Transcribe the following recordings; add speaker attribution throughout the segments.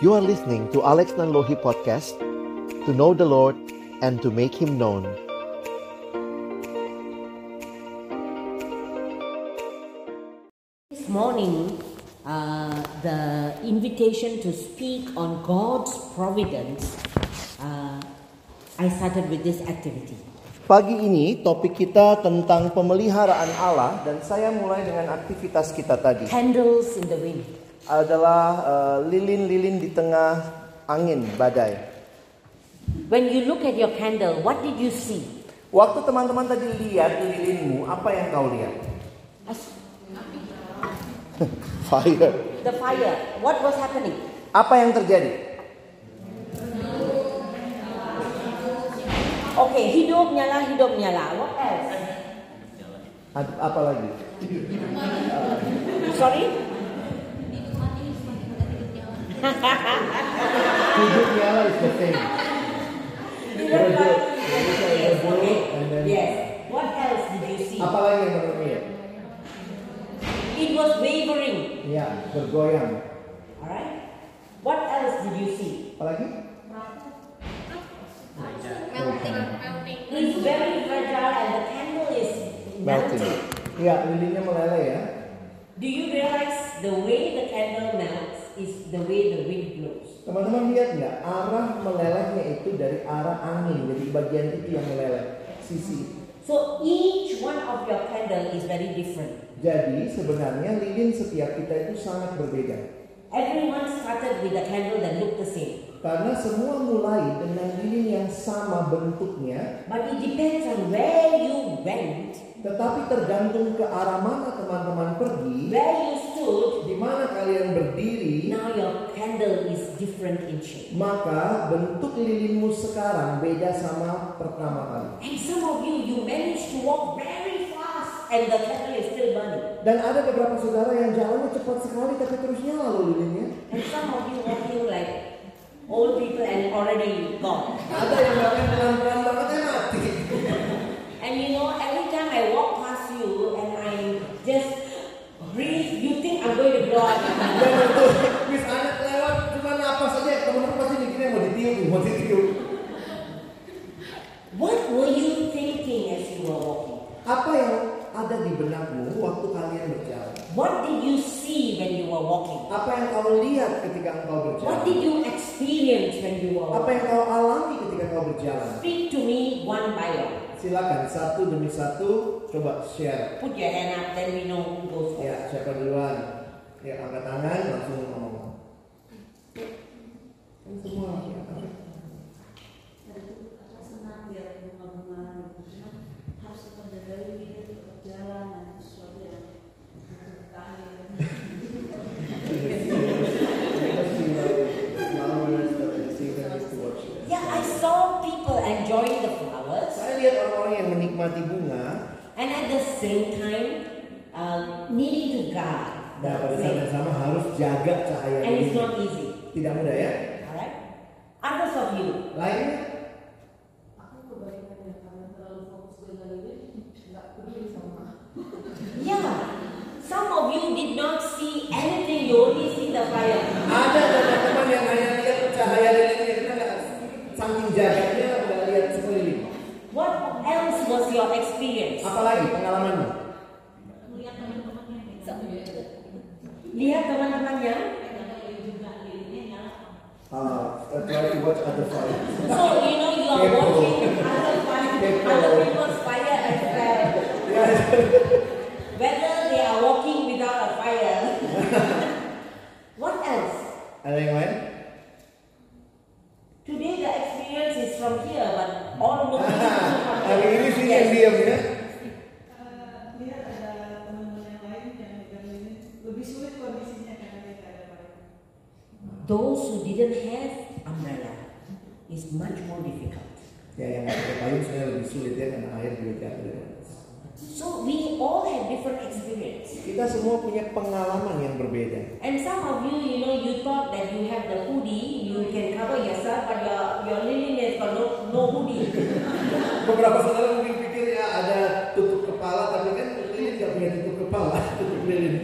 Speaker 1: You are listening to Alex Nanlohi Podcast To know the Lord and to make Him known
Speaker 2: This morning, uh, the invitation to speak on God's providence, uh, I started with this activity.
Speaker 1: Pagi ini topik kita tentang pemeliharaan Allah Dan saya mulai dengan aktivitas kita tadi
Speaker 2: Candles in the wind.
Speaker 1: Adalah eh, lilin-lilin di tengah angin badai
Speaker 2: When you look at your candle, what did you see?
Speaker 1: Waktu teman-teman tadi lihat lilinmu, apa yang kau lihat?
Speaker 2: As-
Speaker 1: Fire
Speaker 2: The fire. What was happening?
Speaker 1: Apa yang terjadi?
Speaker 2: Okay, hidup nyala, hidup nyala. What else?
Speaker 1: Ad- Apa lagi?
Speaker 2: Sorry?
Speaker 1: Hidup nyala is the same
Speaker 2: Yes, okay. Yes. What else did you see?
Speaker 1: Apa lagi yang kamu lihat?
Speaker 2: It was wavering.
Speaker 1: Ya, bergoyang
Speaker 2: All right. What else did you see?
Speaker 1: Apa lagi?
Speaker 2: It's very fragile and the candle is melting.
Speaker 1: Melting Ya, lilinnya meleleh ya
Speaker 2: Do you realize the way the candle melts is the way the wind blows?
Speaker 1: Teman-teman lihat nggak arah melelehnya itu dari arah angin, jadi bagian itu yang meleleh sisi.
Speaker 2: So each one of your candle is very different.
Speaker 1: Jadi sebenarnya lilin setiap kita itu sangat berbeda
Speaker 2: Everyone started with a candle that looked the same.
Speaker 1: karena semua mulai dengan lilin yang sama bentuknya,
Speaker 2: But it depends on where you went,
Speaker 1: tetapi tergantung ke arah mana teman-teman pergi,
Speaker 2: where you stood.
Speaker 1: di mana kalian berdiri,
Speaker 2: Now your candle is different in shape.
Speaker 1: maka bentuk lilinmu sekarang beda sama pertama kali.
Speaker 2: And some of you, you managed to walk very fast and the candle is still burning.
Speaker 1: Dan ada beberapa saudara yang jalannya cepat sekali tapi terus nyala loh lilinnya.
Speaker 2: And some of you walking like old people and already gone.
Speaker 1: Ada yang makan pelan-pelan banget ya mati.
Speaker 2: And you know, every time I walk past you and I just breathe, you think I'm going to blow out.
Speaker 1: Dan itu bis anak lewat cuma napas aja teman-teman pasti mikirnya mau ditiup, mau ditiup.
Speaker 2: What were you thinking as you were walking?
Speaker 1: Apa yang ada di benakmu waktu kalian berjalan?
Speaker 2: What did you see when you were walking?
Speaker 1: Apa yang kau lihat ketika engkau
Speaker 2: What
Speaker 1: berjalan?
Speaker 2: did you experience when you were
Speaker 1: Apa
Speaker 2: walking?
Speaker 1: yang kau alami ketika kau berjalan?
Speaker 2: Speak to me one by one.
Speaker 1: Silakan satu demi satu coba share.
Speaker 2: Put your hand up, then we know who goes first.
Speaker 1: Ya, siapa duluan? Ya, angkat tangan langsung ngomong. Kan semua ya.
Speaker 3: senang biar bunga-bunga harus tetap dari tetap jalan ada sesuatu yang ya. bertahan
Speaker 2: Yeah, I saw people enjoying the flowers,
Speaker 1: Saya lihat orang-orang yang menikmati bunga
Speaker 2: and at the same time, um, needing to guard.
Speaker 1: dan pada
Speaker 2: the
Speaker 1: saat
Speaker 2: flame.
Speaker 1: yang sama harus jaga cahaya
Speaker 2: And it's
Speaker 1: ini.
Speaker 2: not easy.
Speaker 1: Tidak mudah ya.
Speaker 2: Alright? Others of you,
Speaker 1: Lainnya,
Speaker 3: aku kebalikan ya karena terlalu fokus dengan ini nggak peduli sama
Speaker 2: yeah. Some of you did not see anything, you only see the fire.
Speaker 1: ada teman-teman yang hanya lihat cahaya lilinnya kita nggak saking jaganya udah lihat sekeliling.
Speaker 2: What else was your experience?
Speaker 1: Apalagi pengalamanmu?
Speaker 3: melihat teman-temannya gitu
Speaker 2: Lihat teman-temannya.
Speaker 3: juga lilinnya nyala
Speaker 1: Uh, try to watch other fights.
Speaker 2: So you know you are
Speaker 1: People.
Speaker 2: watching other fire,
Speaker 1: People.
Speaker 2: other people's fire as well. Whether they are walking without a fire. what else?
Speaker 1: Ada yang lain?
Speaker 2: Today the experience is from here, but all the
Speaker 1: Hari ini sih yang diam ya.
Speaker 3: lihat ada teman-teman yang lain yang megang ini lebih sulit kondisinya karena tidak ada mereka
Speaker 2: Those who didn't have umbrella is much more difficult.
Speaker 1: Ya yang pakai payung sebenarnya lebih sulit ya karena air juga jatuh. dari atas.
Speaker 2: So we all have different experience.
Speaker 1: Kita semua punya pengalaman yang berbeda.
Speaker 2: And some of you, you know, you thought that you have the hoodie, you can cover yourself, but your your linen has got no, no hoodie.
Speaker 1: Beberapa saudara mungkin pikir ya ada tutup kepala tapi kan lilin nggak punya tutup kepala, tutup lilin.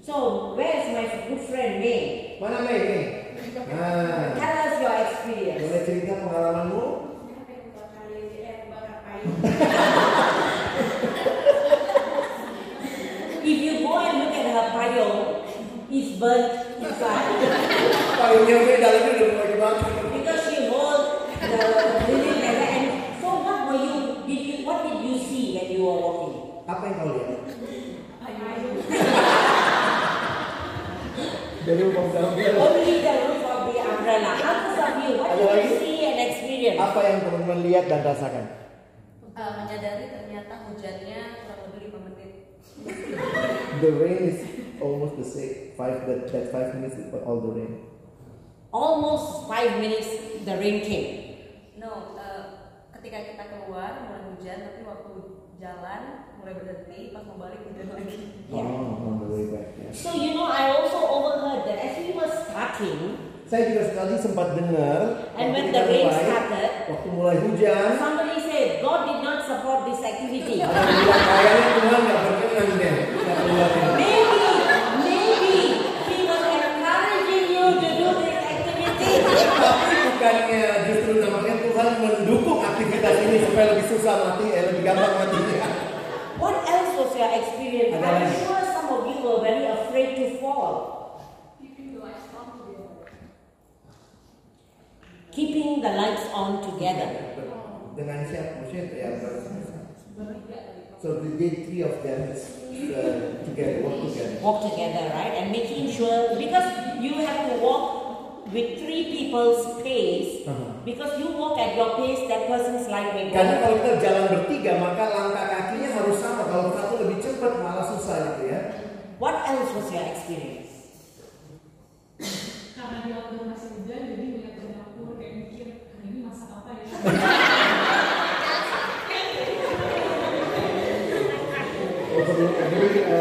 Speaker 2: So where's my good friend May?
Speaker 1: Mana Mei? Mei? Nah,
Speaker 2: Tell us your
Speaker 1: boleh
Speaker 2: experience.
Speaker 1: cerita pengalamanmu?
Speaker 3: eh,
Speaker 2: If you go and look at her payung, it's burnt inside
Speaker 1: Payungnya gue dalamnya udah mulai dibakar.
Speaker 2: because she holds the linen like that. And so, what were you? Did you? What did you see when you were walking?
Speaker 1: Apa yang kau lihat? Dari Umar Zambil.
Speaker 2: Only the roof of the umbrella. Others of you, what
Speaker 1: Ada
Speaker 2: did
Speaker 1: lagi?
Speaker 2: you see and experience?
Speaker 1: Apa yang teman-teman lihat dan rasakan?
Speaker 4: Eh, menyadari ternyata hujannya kurang lebih 5 menit.
Speaker 1: The rain is almost the same. Five that that five minutes for all the rain.
Speaker 2: Almost five minutes, the rain came.
Speaker 4: No, eh, ketika kita keluar mulai hujan, tapi waktu jalan mulai berhenti, pas mau balik hujan lagi.
Speaker 1: Oh, on the way back. yeah.
Speaker 2: So you know, I also overheard that as we were starting,
Speaker 1: Saya juga sekali sempat dengar
Speaker 2: And
Speaker 1: waktu
Speaker 2: when the
Speaker 1: kita
Speaker 2: rain
Speaker 1: mulai,
Speaker 2: started-
Speaker 1: waktu mulai hujan,
Speaker 2: somebody said God did not support this activity.
Speaker 1: ada yang bilang kayaknya Tuhan nggak berkenan deh kita keluarin.
Speaker 2: Maybe, maybe he was encouraging you to do this activity.
Speaker 1: Tapi bukannya justru namanya Tuhan mendukung aktivitas ini supaya lebih susah mati, eh lebih gampang mati.
Speaker 2: What else was your experience?
Speaker 1: Ada
Speaker 2: I'm
Speaker 1: lagi.
Speaker 2: sure some of you were very afraid to fall, keeping the lights on together.
Speaker 1: Dengan siapa? Maksudnya ya. So the day three of them is uh, together, work together.
Speaker 2: Walk together, right? And making sure, because you have to walk with three people's pace,
Speaker 1: Uh-huh.
Speaker 2: because you walk at your pace, that person's light may go.
Speaker 1: Karena kalau kita jalan bertiga maka langkah kakinya harus sama. Kalau satu lebih cepat malah susah gitu ya.
Speaker 2: What else was your experience?
Speaker 5: karena di waktu masih hujan jadi melihat dapur kayak mikir hari ini masak apa ya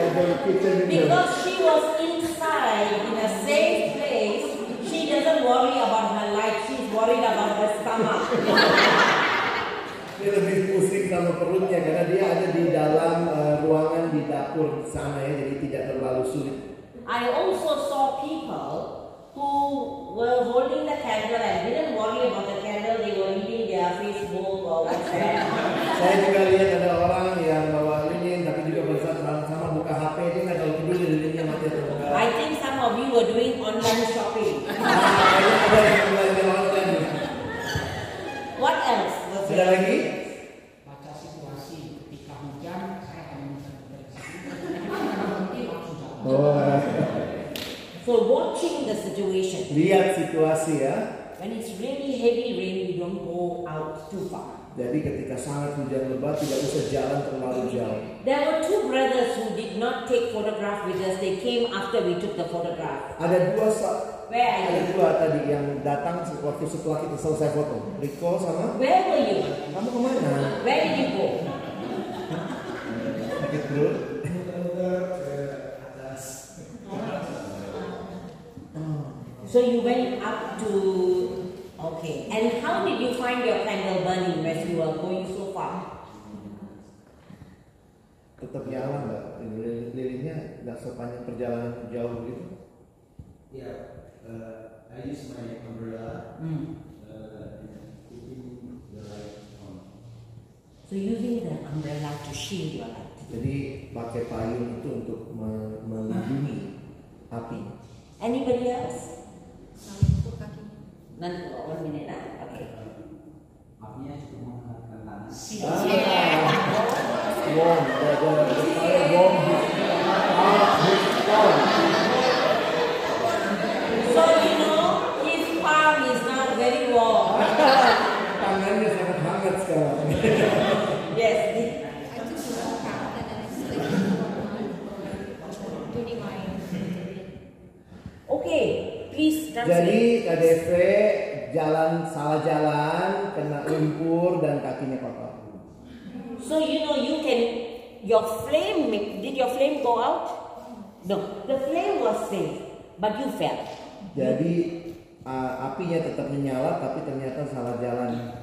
Speaker 2: Because she was inside in a safe place, she doesn't worry about her life, she's worried about her stomach.
Speaker 1: Dia lebih pusing sama perutnya karena dia ada di dalam eh, ruangan di dapur sana ya, jadi tidak terlalu sulit.
Speaker 2: I also saw people who were holding the candle and didn't worry about the candle, they were reading their Facebook or whatever.
Speaker 1: Saya juga lihat ada orang yang eh, bawa lilin tapi juga bersaat sama buka HP dia nggak tahu peduli lilinnya mati atau enggak.
Speaker 2: I think some of you were doing online shopping.
Speaker 1: Ah, kayaknya ada yang belanja online.
Speaker 2: What else was
Speaker 1: Ada
Speaker 2: there?
Speaker 1: lagi?
Speaker 6: baca situasi ketika hujan saya akan bisa bekerja karena berhenti langsung jalan
Speaker 2: So watching the situation,
Speaker 1: Lihat situasi ya.
Speaker 2: when it's really heavy rain, we don't go out too far.
Speaker 1: Jadi ketika sangat hujan lebat tidak usah jalan terlalu jauh.
Speaker 2: There were two brothers who did not take photograph with us. They came after we took the photograph.
Speaker 1: Ada dua sa-
Speaker 2: Where are
Speaker 1: ada
Speaker 2: you?
Speaker 1: dua tadi yang datang waktu setelah kita selesai foto. Rico sama
Speaker 2: Where were you?
Speaker 1: kamu kemana?
Speaker 2: Where did you go?
Speaker 1: Sakit perut.
Speaker 2: So you went up to. Okay. And how did you find your candle burning as you were going so far?
Speaker 1: Tetap nyala nggak? Lilin- Lilinnya nggak sepanjang perjalanan jauh gitu. Iya,
Speaker 7: Yeah,
Speaker 1: eh.
Speaker 7: uh, I use my umbrella
Speaker 2: Mm.
Speaker 7: uh, and keeping the light on.
Speaker 2: So using the umbrella to shield your light.
Speaker 1: Jadi pakai payung itu untuk me- melindungi api.
Speaker 2: Anybody else?
Speaker 4: Lalu kaki.
Speaker 2: None. One minute. ah? Okay.
Speaker 6: apinya cukup menghangatkan tangan
Speaker 1: Ah, warm, the the the fire warm his ah, his palm.
Speaker 2: So you know his palm is not very warm.
Speaker 1: Tangannya sangat hangat sekarang.
Speaker 2: Yes. the-
Speaker 4: Aku juga kaget dan excited. Itu di main.
Speaker 2: Okay. Please
Speaker 1: Jadi
Speaker 2: translate.
Speaker 1: KDV jalan salah jalan, kena lumpur dan kakinya kotor.
Speaker 2: So you know you can your flame ma- did your flame go out? No, the flame was safe, but you fell.
Speaker 1: Jadi ah, apinya tetap menyala tapi ternyata salah jalan.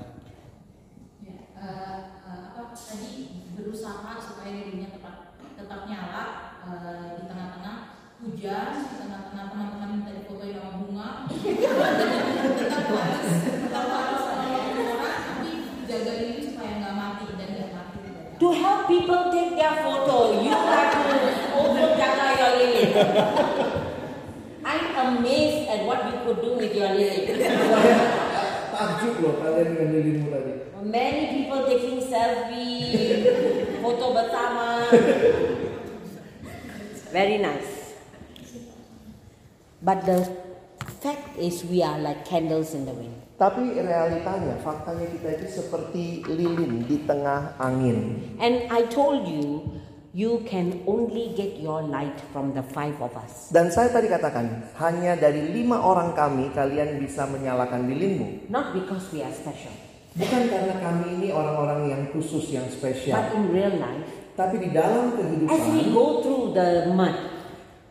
Speaker 4: Ya, eh, eh, apa tadi berusaha supaya dirinya tetap tetap nyala eh, di tengah-tengah hujan di tengah-tengah teman-teman minta difotoin sama bunga
Speaker 2: take their photo. You have to also jaga your lily. I'm amazed at what you could do with your lily.
Speaker 1: Saya takjub loh kalian dengan lilimu tadi.
Speaker 2: Many people taking selfie, foto bersama. Very nice. But the fact is, we are like candles in the wind.
Speaker 1: Tapi realitanya, faktanya kita itu seperti lilin di tengah angin.
Speaker 2: And I told you, you can only get your light from the five of us.
Speaker 1: Dan saya tadi katakan, hanya dari lima orang kami kalian bisa menyalakan lilinmu.
Speaker 2: Not because we are special,
Speaker 1: Bukan karena kami ini orang-orang yang khusus, yang
Speaker 2: but
Speaker 1: spesial.
Speaker 2: in real life,
Speaker 1: Tapi di dalam
Speaker 2: as we
Speaker 1: kehidupan,
Speaker 2: go through the mud,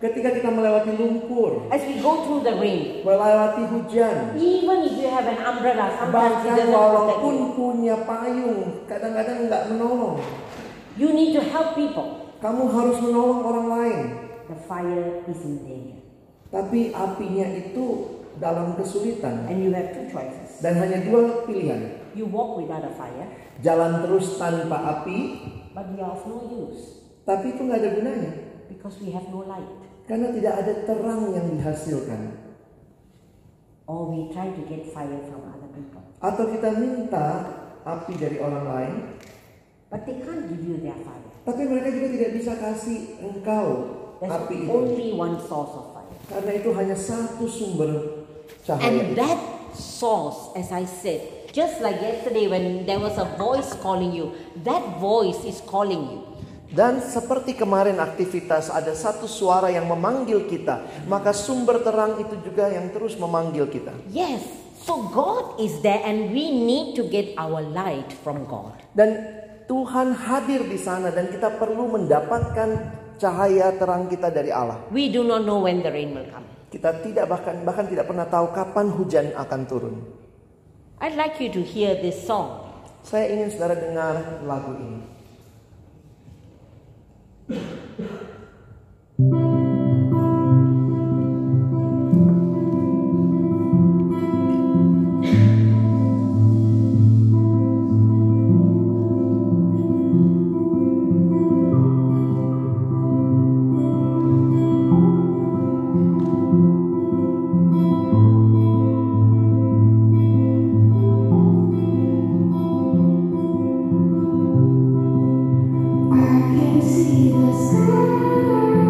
Speaker 1: ketika kita melewati lumpur,
Speaker 2: as we go through the rain,
Speaker 1: melewati hujan,
Speaker 2: even if you have an umbrella, sometimes it
Speaker 1: bahkan
Speaker 2: doesn't protect
Speaker 1: walaupun
Speaker 2: you.
Speaker 1: punya payung, kadang-kadang nggak menolong.
Speaker 2: You need to help people.
Speaker 1: Kamu harus menolong orang lain.
Speaker 2: The fire is in danger.
Speaker 1: Tapi apinya itu dalam kesulitan.
Speaker 2: And you have two choices.
Speaker 1: Dan hanya dua pilihan.
Speaker 2: You walk without a fire,
Speaker 1: Jalan terus tanpa api,
Speaker 2: but we are of no use
Speaker 1: tapi itu nggak ada gunanya.
Speaker 2: because we have no light.
Speaker 1: Karena tidak ada terang yang dihasilkan.
Speaker 2: Or we try to get fire from other people.
Speaker 1: Atau kita minta api dari orang lain,
Speaker 2: But they can't give you their fire.
Speaker 1: tapi mereka juga tidak bisa kasih engkau
Speaker 2: There's
Speaker 1: api itu.
Speaker 2: only one source of fire.
Speaker 1: Karena itu hanya satu sumber cahaya
Speaker 2: And
Speaker 1: itu.
Speaker 2: that source, as I said, just like yesterday when there was a voice calling you, that voice is calling you.
Speaker 1: Dan seperti kemarin aktivitas ada satu suara yang memanggil kita, maka sumber terang itu juga yang terus memanggil kita.
Speaker 2: Yes, so God is there and we need to get our light from God.
Speaker 1: Dan Tuhan hadir di sana dan kita perlu mendapatkan cahaya terang kita dari Allah.
Speaker 2: We do not know when the rain will come.
Speaker 1: Kita tidak bahkan bahkan tidak pernah tahu kapan hujan akan turun.
Speaker 2: I'd like you to hear this song.
Speaker 1: Saya ingin saudara dengar lagu ini.
Speaker 8: I can see the sun.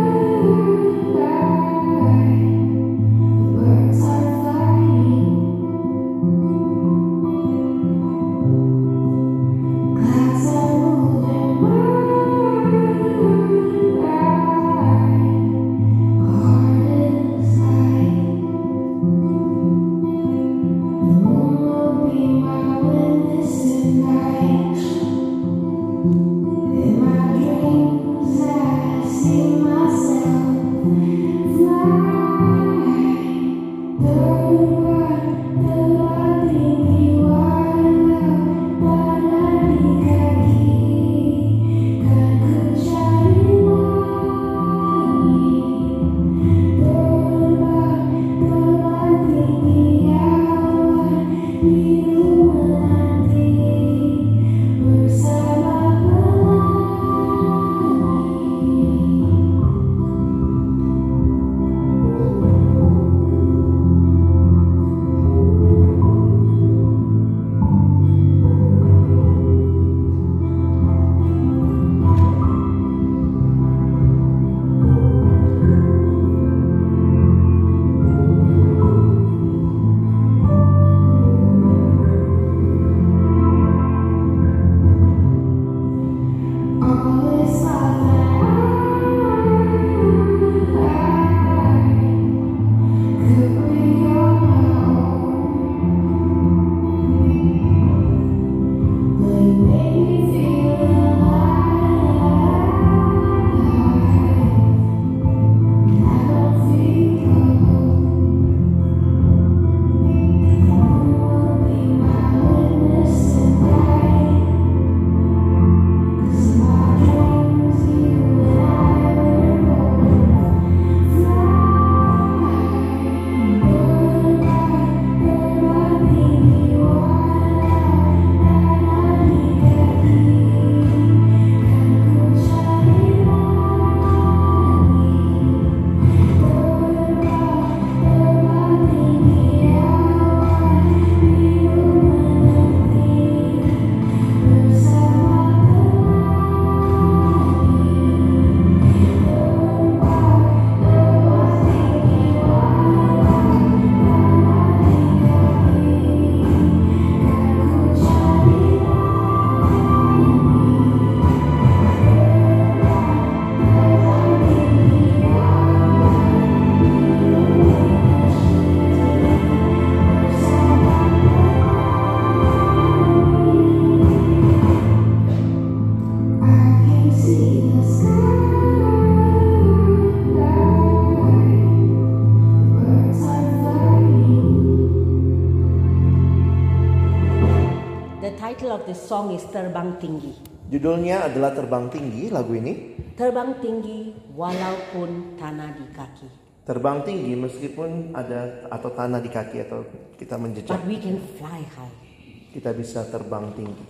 Speaker 2: song is Terbang Tinggi.
Speaker 1: Judulnya adalah Terbang Tinggi lagu ini.
Speaker 2: Terbang tinggi walaupun tanah di kaki.
Speaker 1: Terbang tinggi meskipun ada atau tanah di kaki atau kita menjejak,
Speaker 2: But we can fly high.
Speaker 1: kita bisa terbang tinggi.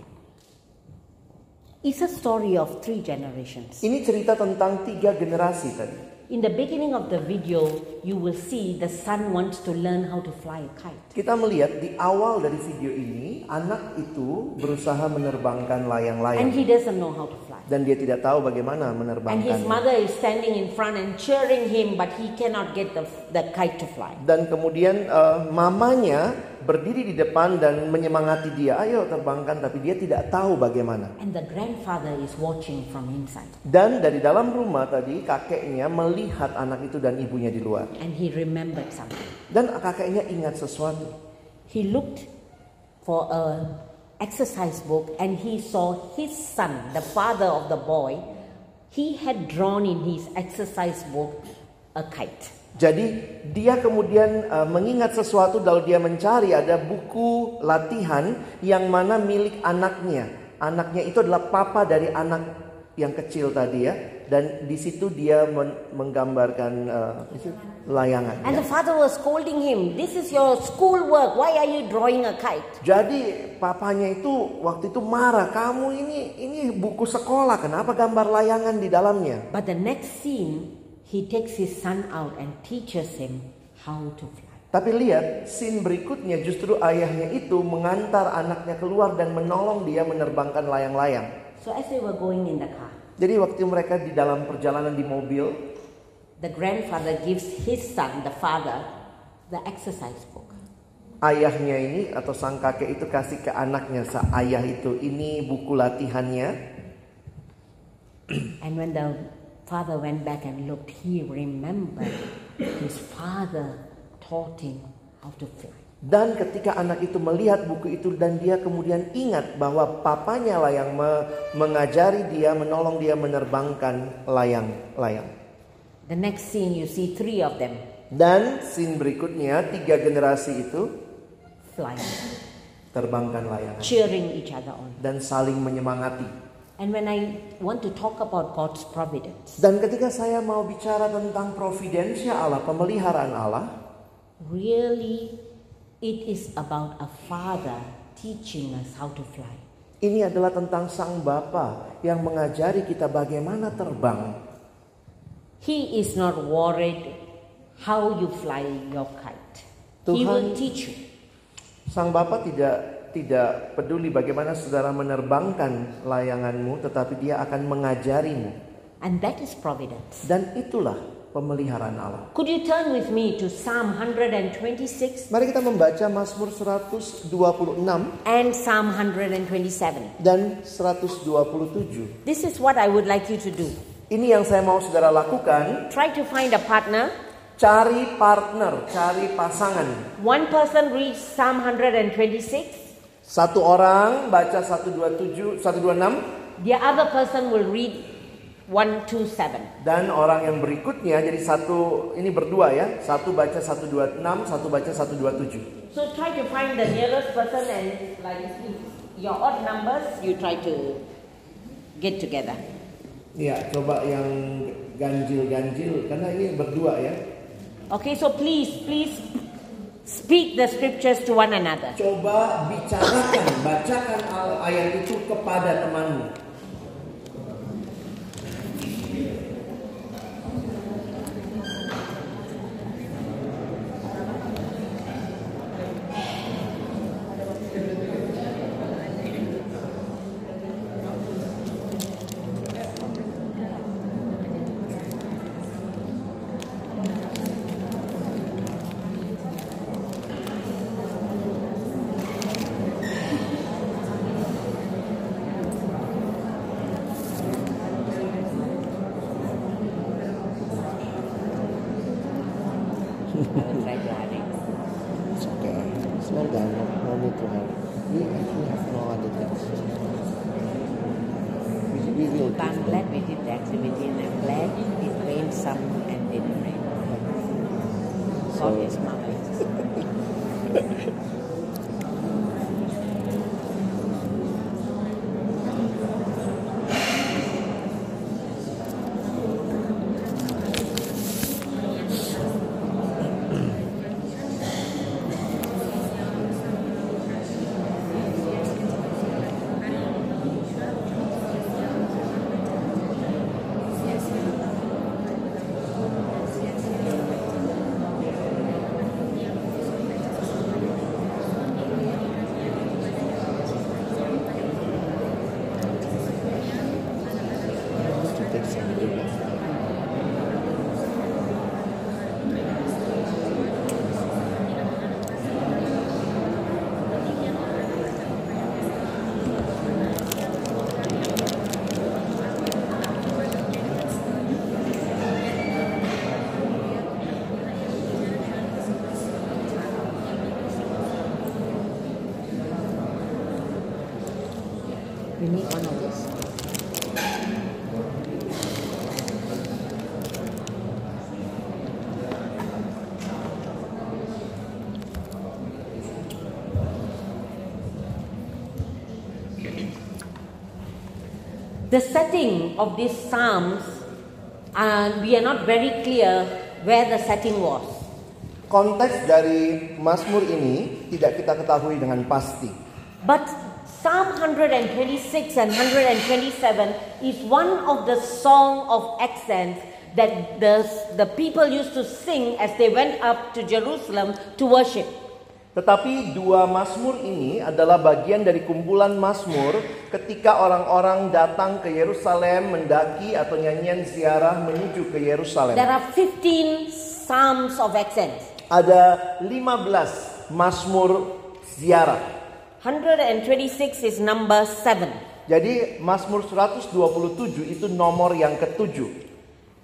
Speaker 2: It's a story of three generations.
Speaker 1: Ini cerita tentang tiga generasi tadi.
Speaker 2: In the beginning of the video, you will see the son wants to learn how to fly a kite.
Speaker 1: Kita melihat di awal dari video ini, anak itu berusaha menerbangkan
Speaker 2: And
Speaker 1: layang-layang.
Speaker 2: he doesn't know how to fly.
Speaker 1: Dan dia tidak tahu bagaimana
Speaker 2: And his
Speaker 1: menerbangkannya.
Speaker 2: mother is standing in front and cheering him, but he cannot get the, the kite to fly.
Speaker 1: Dan kemudian eh, mamanya berdiri di depan dan menyemangati dia, ayo terbangkan, tapi dia tidak tahu bagaimana.
Speaker 2: And the grandfather is watching from inside.
Speaker 1: Dan dari dalam rumah tadi, kakeknya melihat anak itu dan ibunya di luar.
Speaker 2: And he remembered something.
Speaker 1: Dan kakeknya ingat sesuatu.
Speaker 2: He looked for a exercise book and he saw his son, the father of the boy, he had drawn in his exercise book a kite.
Speaker 1: Jadi dia kemudian eh, mengingat sesuatu lalu dia mencari ada buku latihan yang mana milik anaknya. Anaknya itu adalah papa dari anak yang kecil tadi ya. Dan di situ dia men- menggambarkan eh, layangan.
Speaker 2: And
Speaker 1: ya.
Speaker 2: the father was scolding him, This is your schoolwork, why are you drawing a kite?
Speaker 1: Jadi papanya itu waktu itu marah, kamu ini ini buku sekolah, kenapa gambar layangan di dalamnya?
Speaker 2: But the next scene, he takes his son out and teaches him how to fly.
Speaker 1: Tapi lihat, scene berikutnya justru ayahnya itu mengantar anaknya keluar dan menolong dia menerbangkan layang-layang.
Speaker 2: So as they were going in the car,
Speaker 1: Jadi waktu mereka di dalam perjalanan di mobil,
Speaker 2: the grandfather gives his son, the father, the exercise book.
Speaker 1: ayahnya ini atau sang kakek itu kasih ke anaknya, sa ayah itu ini buku latihannya.
Speaker 2: And when the father went back and looked, he remembered his father taught him how to fly.
Speaker 1: Dan ketika anak itu melihat buku itu dan dia kemudian ingat bahwa papanya lah yang me- mengajari dia, menolong dia menerbangkan layang-layang.
Speaker 2: The next scene, you see three of them
Speaker 1: Dan scene berikutnya, tiga generasi itu
Speaker 2: flying,
Speaker 1: terbangkan layangan.
Speaker 2: cheering each other on.
Speaker 1: dan saling menyemangati.
Speaker 2: And when I want to talk about God's providence,
Speaker 1: Dan ketika saya mau bicara tentang providensia Allah, pemeliharaan Allah,
Speaker 2: really it is about a father teaching us how to fly.
Speaker 1: ini adalah tentang Sang Bapa yang mengajari kita bagaimana terbang.
Speaker 2: He is not worried how you fly your kite. He
Speaker 1: Tuhan-
Speaker 2: will teach you.
Speaker 1: Sang Bapa tidak tidak peduli bagaimana saudara menerbangkan layanganmu, tetapi dia akan mengajarimu.
Speaker 2: And that is providence.
Speaker 1: Dan itulah pemeliharaan Allah.
Speaker 2: Could you turn with me to Psalm 126
Speaker 1: Mari kita membaca Mazmur 126
Speaker 2: and Psalm 127?
Speaker 1: dan 127.
Speaker 2: This is what I would like you to do.
Speaker 1: Ini yang saya mau saudara lakukan
Speaker 2: Try to find a partner.
Speaker 1: Cari partner, cari pasangan.
Speaker 2: One person reads Psalm 126,
Speaker 1: Satu orang baca 127, 126
Speaker 2: the other person will read 127.
Speaker 1: dan orang yang berikutnya jadi satu ini berdua ya. Satu baca 126, satu baca 127.
Speaker 2: So try to find the nearest person and like if your odd numbers, you try to get together.
Speaker 1: Iya, coba yang ganjil-ganjil karena ini berdua ya.
Speaker 2: Okay, so please, please speak the scriptures to one another.
Speaker 1: Coba bicarakan, bacakan al- ayat itu kepada temanmu.
Speaker 2: Try to have it.
Speaker 1: It's okay. Slow down. No, no need to hurry. We actually have no other things. We, we will
Speaker 2: But I'm glad we did the activity and I'm glad it rained some and didn't rain. God is marvelous. You need one of those. The setting of these psalms, and we are not very clear where the setting was.
Speaker 1: Konteks dari Mazmur ini tidak kita ketahui dengan pasti.
Speaker 2: But Psalm 126 and 127 is one of the song of accents that the, the people used to sing as they went up to Jerusalem to worship.
Speaker 1: Tetapi dua Mazmur ini adalah bagian dari kumpulan Mazmur ketika orang-orang datang ke Yerusalem mendaki atau nyanyian ziarah menuju ke Yerusalem.
Speaker 2: There are 15 psalms of accents.
Speaker 1: Ada 15 Mazmur ziarah.
Speaker 2: 126 is number 7.
Speaker 1: Jadi Mazmur 127 itu nomor yang ketujuh.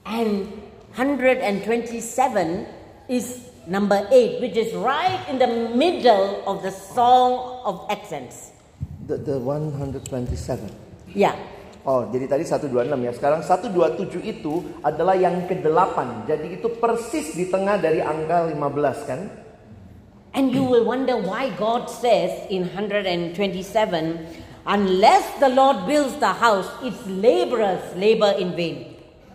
Speaker 2: And 127 is number 8, which is right in the middle of the song of accents.
Speaker 1: The, the 127.
Speaker 2: Yeah.
Speaker 1: Oh, jadi tadi 126 ya. Sekarang 127 itu adalah yang ke-8. Jadi itu persis di tengah dari angka 15 kan?
Speaker 2: And you will wonder why God says in 127 unless the Lord builds the house, its laborers labor in vain.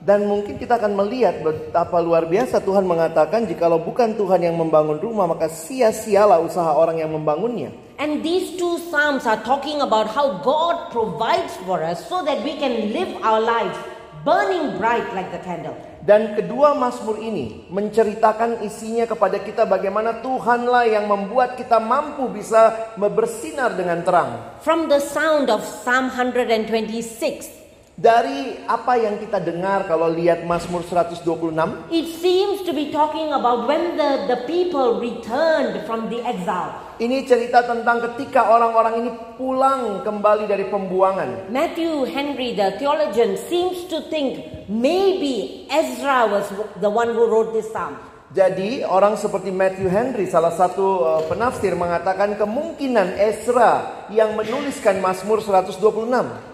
Speaker 1: Dan mungkin kita akan melihat betapa luar biasa Tuhan mengatakan jikalau bukan Tuhan yang membangun rumah maka sia-sialah usaha orang yang membangunnya.
Speaker 2: And these two Psalms are talking about how God provides for us so that we can live our lives burning bright like the candle.
Speaker 1: Dan kedua Mazmur ini menceritakan isinya kepada kita bagaimana Tuhanlah yang membuat kita mampu bisa bersinar dengan terang.
Speaker 2: From the sound of Psalm 126,
Speaker 1: Dari apa yang kita dengar kalau lihat Mazmur 126
Speaker 2: it seems to be talking about when the, the people returned from the exile.
Speaker 1: Ini cerita tentang ketika orang-orang ini pulang kembali dari pembuangan.
Speaker 2: Matthew Henry, the theologian, seems to think maybe Ezra was the one who wrote this psalm.
Speaker 1: Jadi orang seperti Matthew Henry, salah satu eh, penafsir mengatakan kemungkinan Ezra yang menuliskan Mazmur 126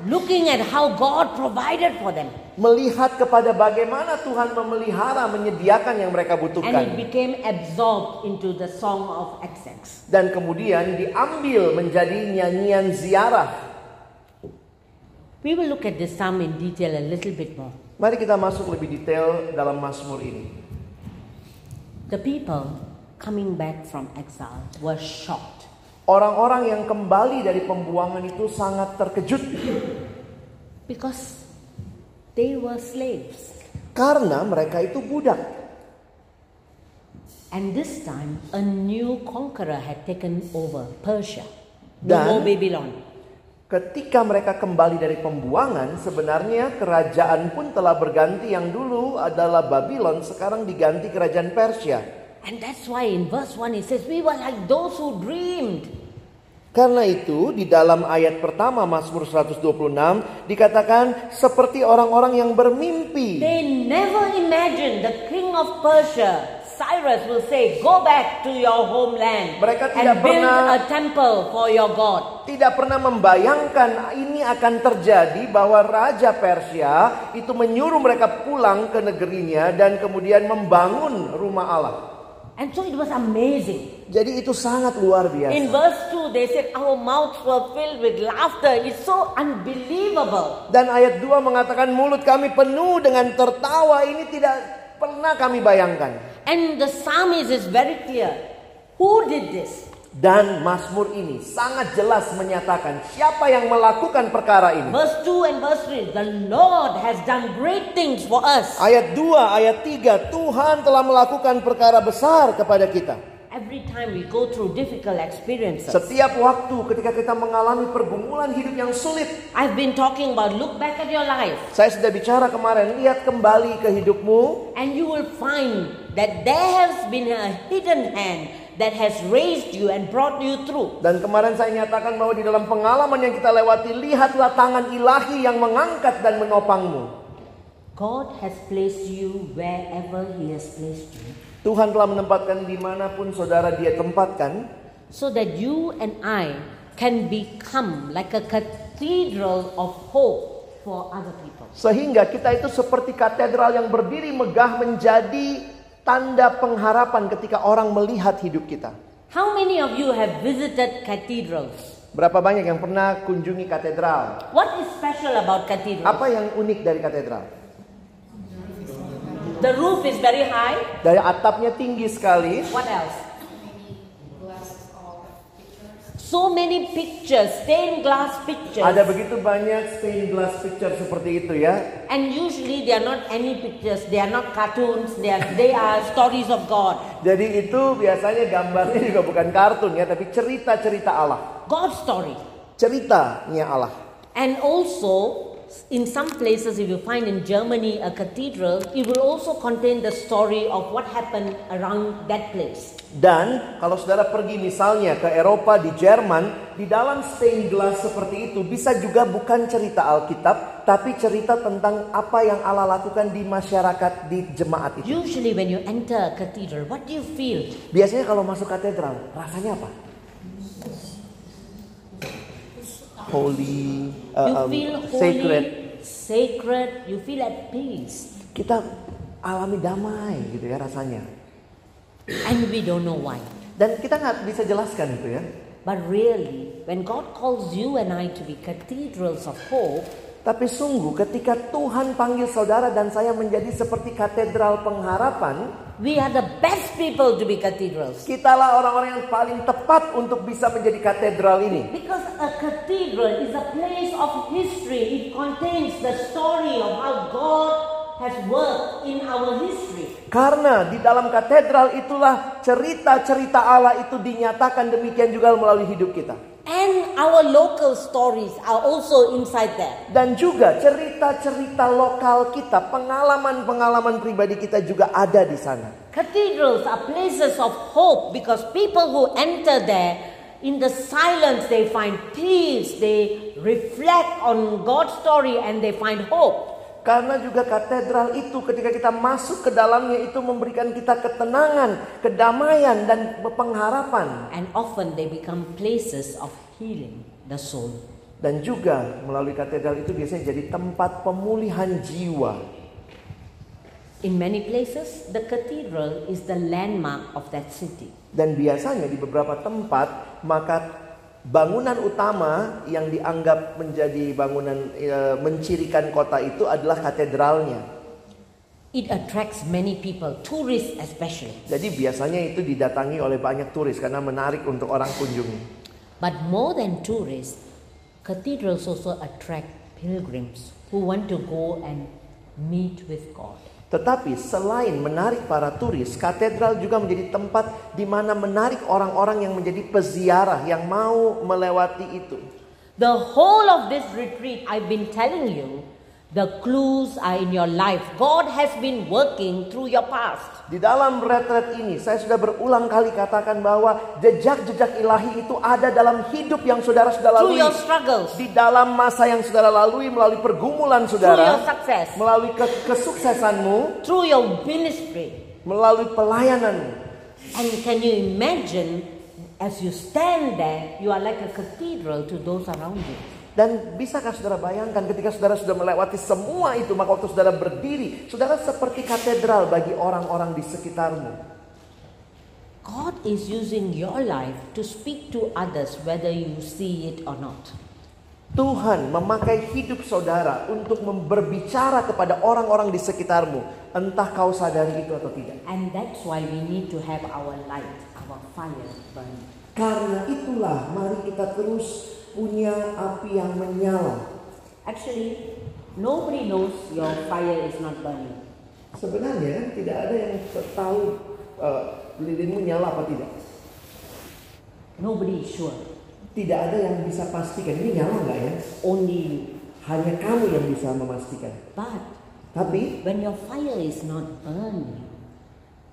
Speaker 2: Looking at how God provided for them,
Speaker 1: melihat kepada bagaimana Tuhan memelihara, menyediakan yang mereka
Speaker 2: and it
Speaker 1: butuhkan
Speaker 2: became absorbed into the Song of Accents.
Speaker 1: dan kemudian diambil menjadi nyanyian ziarah.
Speaker 2: We will look at this psalm in detail a little bit more.
Speaker 1: Mari kita masuk lebih detail dalam Mazmur ini.
Speaker 2: The people coming back from exile were shocked.
Speaker 1: Orang-orang yang kembali dari pembuangan itu sangat terkejut
Speaker 2: Because they were slaves.
Speaker 1: Karena mereka itu budak.
Speaker 2: And this time, a new conqueror had taken over Persia.
Speaker 1: Dan-
Speaker 2: No more Babylon.
Speaker 1: Ketika mereka kembali dari pembuangan, sebenarnya kerajaan pun telah berganti yang dulu adalah Babylon, sekarang diganti kerajaan Persia.
Speaker 2: And that's why in verse 1 it says, We were like those who dreamed.
Speaker 1: Karena itu, di dalam ayat pertama Mazmur 126 dikatakan seperti orang-orang yang bermimpi.
Speaker 2: They never imagined the king of Persia, Cyrus, will say, Go back to your homeland
Speaker 1: Mereka tidak
Speaker 2: and build
Speaker 1: pernah-
Speaker 2: a temple for your God.
Speaker 1: Tidak pernah membayangkan ini akan terjadi bahwa raja Persia itu menyuruh mereka pulang ke negerinya dan kemudian membangun rumah Allah.
Speaker 2: And so it was amazing.
Speaker 1: Jadi itu sangat luar biasa.
Speaker 2: In verse 2, they said, Our mouths were filled with laughter. It's so unbelievable.
Speaker 1: Dan ayat 2 mengatakan mulut kami penuh dengan tertawa ini tidak pernah kami bayangkan.
Speaker 2: And the psalmist is very clear. Who did this?
Speaker 1: Dan Mazmur ini sangat jelas menyatakan siapa yang melakukan perkara ini.
Speaker 2: Verse 2 and verse 3. The Lord has done great things for us.
Speaker 1: Ayat 2, ayat 3, Tuhan telah melakukan perkara besar kepada kita.
Speaker 2: Every time we go through difficult experiences,
Speaker 1: Setiap waktu ketika kita mengalami pergumulan hidup yang sulit.
Speaker 2: I've been talking about look back at your life
Speaker 1: Saya sudah bicara kemarin, lihat kembali ke hidupmu.
Speaker 2: and you will find that there has been a hidden hand that has raised you and brought you through.
Speaker 1: Dan kemarin saya nyatakan bahwa di dalam pengalaman yang kita lewati, lihatlah tangan ilahi yang mengangkat dan menopangmu.
Speaker 2: God has placed you wherever He has placed you
Speaker 1: Tuhan telah menempatkan dimanapun saudara dia tempatkan
Speaker 2: so that you and I can become like a cathedral of hope for other people.
Speaker 1: Sehingga kita itu seperti katedral yang berdiri megah menjadi tanda pengharapan ketika orang melihat hidup kita.
Speaker 2: How many of you have visited cathedrals?
Speaker 1: Berapa banyak yang pernah kunjungi katedral?
Speaker 2: What is special about cathedrals?
Speaker 1: Apa yang unik dari katedral?
Speaker 2: The roof is very high.
Speaker 1: Dari atapnya tinggi sekali,
Speaker 2: What else? So many pictures, stained glass pictures.
Speaker 1: ada begitu banyak stained glass picture seperti itu ya.
Speaker 2: And usually they are not any pictures, they are not cartoons, they are, they are stories of God.
Speaker 1: Jadi itu biasanya gambarnya juga bukan kartun ya, tapi cerita-cerita Allah.
Speaker 2: God's story.
Speaker 1: Ceritanya Allah.
Speaker 2: And also, in some places, if you find in Germany a cathedral, it will also contain the story of what happened around that place.
Speaker 1: Dan kalau saudara pergi misalnya ke Eropa di Jerman, di dalam stained glass seperti itu bisa juga bukan cerita Alkitab, tapi cerita tentang apa yang Allah lakukan di masyarakat di jemaat itu.
Speaker 2: Usually, when you enter a cathedral, what do you feel?
Speaker 1: Biasanya kalau masuk katedral, rasanya apa? Holy,
Speaker 2: You
Speaker 1: uh, um,
Speaker 2: feel holy,
Speaker 1: sacred.
Speaker 2: sacred, you feel at peace.
Speaker 1: Kita alami damai gitu ya rasanya.
Speaker 2: And we don't know why.
Speaker 1: Dan kita nggak bisa jelaskan itu ya.
Speaker 2: But really, when God calls you and I to be cathedrals of hope,
Speaker 1: Tapi sungguh ketika Tuhan panggil saudara dan saya menjadi seperti katedral pengharapan,
Speaker 2: we are the best people to be cathedrals.
Speaker 1: kitalah orang-orang yang paling tepat untuk bisa menjadi katedral ini.
Speaker 2: Because a cathedral is a place of history. It contains the story of how God has worked in our history.
Speaker 1: Karena di dalam katedral itulah cerita-cerita Allah itu dinyatakan demikian juga melalui hidup kita.
Speaker 2: And our local stories are also inside there.
Speaker 1: Dan juga cerita-cerita lokal kita, pengalaman-pengalaman pribadi kita juga ada di sana.
Speaker 2: Cathedrals are places of hope because people who enter there, in the silence, they find peace, they reflect on God's story, and they find hope.
Speaker 1: Karena juga katedral itu ketika kita masuk ke dalamnya itu memberikan kita ketenangan, kedamaian dan pengharapan.
Speaker 2: And often they become places of healing the soul.
Speaker 1: Dan juga melalui katedral itu biasanya jadi tempat pemulihan jiwa.
Speaker 2: In many places, the cathedral is the landmark of that city.
Speaker 1: Dan biasanya di beberapa tempat maka bangunan utama yang dianggap menjadi bangunan eh, mencirikan kota itu adalah katedralnya.
Speaker 2: It attracts many people, tourists especially.
Speaker 1: Jadi biasanya itu didatangi oleh banyak turis karena menarik untuk orang kunjungi.
Speaker 2: But more than tourists, cathedrals also attract pilgrims who want to go and meet with God.
Speaker 1: Tetapi selain menarik para turis, katedral juga menjadi tempat di mana menarik orang-orang yang menjadi peziarah yang mau melewati itu.
Speaker 2: The whole of this retreat, I've been telling you, the clues are in your life. God has been working through your past.
Speaker 1: Di dalam retret ini, saya sudah berulang kali katakan bahwa jejak-jejak ilahi itu ada dalam hidup yang saudara sudah
Speaker 2: Through
Speaker 1: lalui.
Speaker 2: your struggles,
Speaker 1: Di dalam masa yang saudara lalui melalui pergumulan
Speaker 2: through your
Speaker 1: saudara,
Speaker 2: success,
Speaker 1: melalui ke- kesuksesanmu,
Speaker 2: through your ministry,
Speaker 1: melalui pelayananmu.
Speaker 2: And can you imagine as you stand there, you are like a cathedral to those around you?
Speaker 1: Dan bisakah saudara bayangkan ketika saudara sudah melewati semua itu, maka waktu saudara berdiri, saudara seperti katedral bagi orang-orang di sekitarmu.
Speaker 2: God is using your life to speak to others whether you see it or not.
Speaker 1: Tuhan memakai hidup saudara untuk berbicara kepada orang-orang di sekitarmu, entah kau sadari itu atau tidak.
Speaker 2: And that's why we need to have our light, our fire burning.
Speaker 1: Karena itulah mari kita terus punya api yang menyala.
Speaker 2: Actually, nobody knows your fire is not burning.
Speaker 1: Sebenarnya kan tidak ada yang tahu eh, lilinmu nyala apa tidak.
Speaker 2: Nobody is sure.
Speaker 1: Tidak ada yang bisa pastikan ini nyala nggak ya.
Speaker 2: Only you.
Speaker 1: Hanya kamu yang bisa memastikan.
Speaker 2: But
Speaker 1: Tapi
Speaker 2: when your fire is not burning,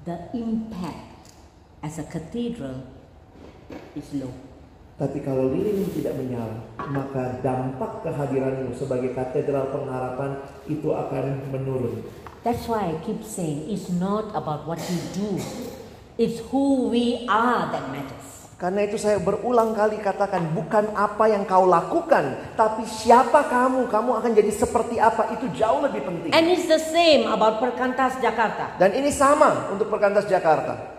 Speaker 2: the impact as a cathedral is low.
Speaker 1: tapi kalau lilinmu tidak menyala, maka dampak kehadiranmu sebagai katedral pengharapan itu akan menurun.
Speaker 2: That's why I keep saying it's not about what you do, it's who we are that matters.
Speaker 1: Karena itu saya berulang kali katakan bukan apa yang kau lakukan, tapi siapa kamu, kamu akan jadi seperti apa itu jauh lebih penting.
Speaker 2: And it's the same about Perkantas Jakarta.
Speaker 1: Dan ini sama untuk Perkantas Jakarta.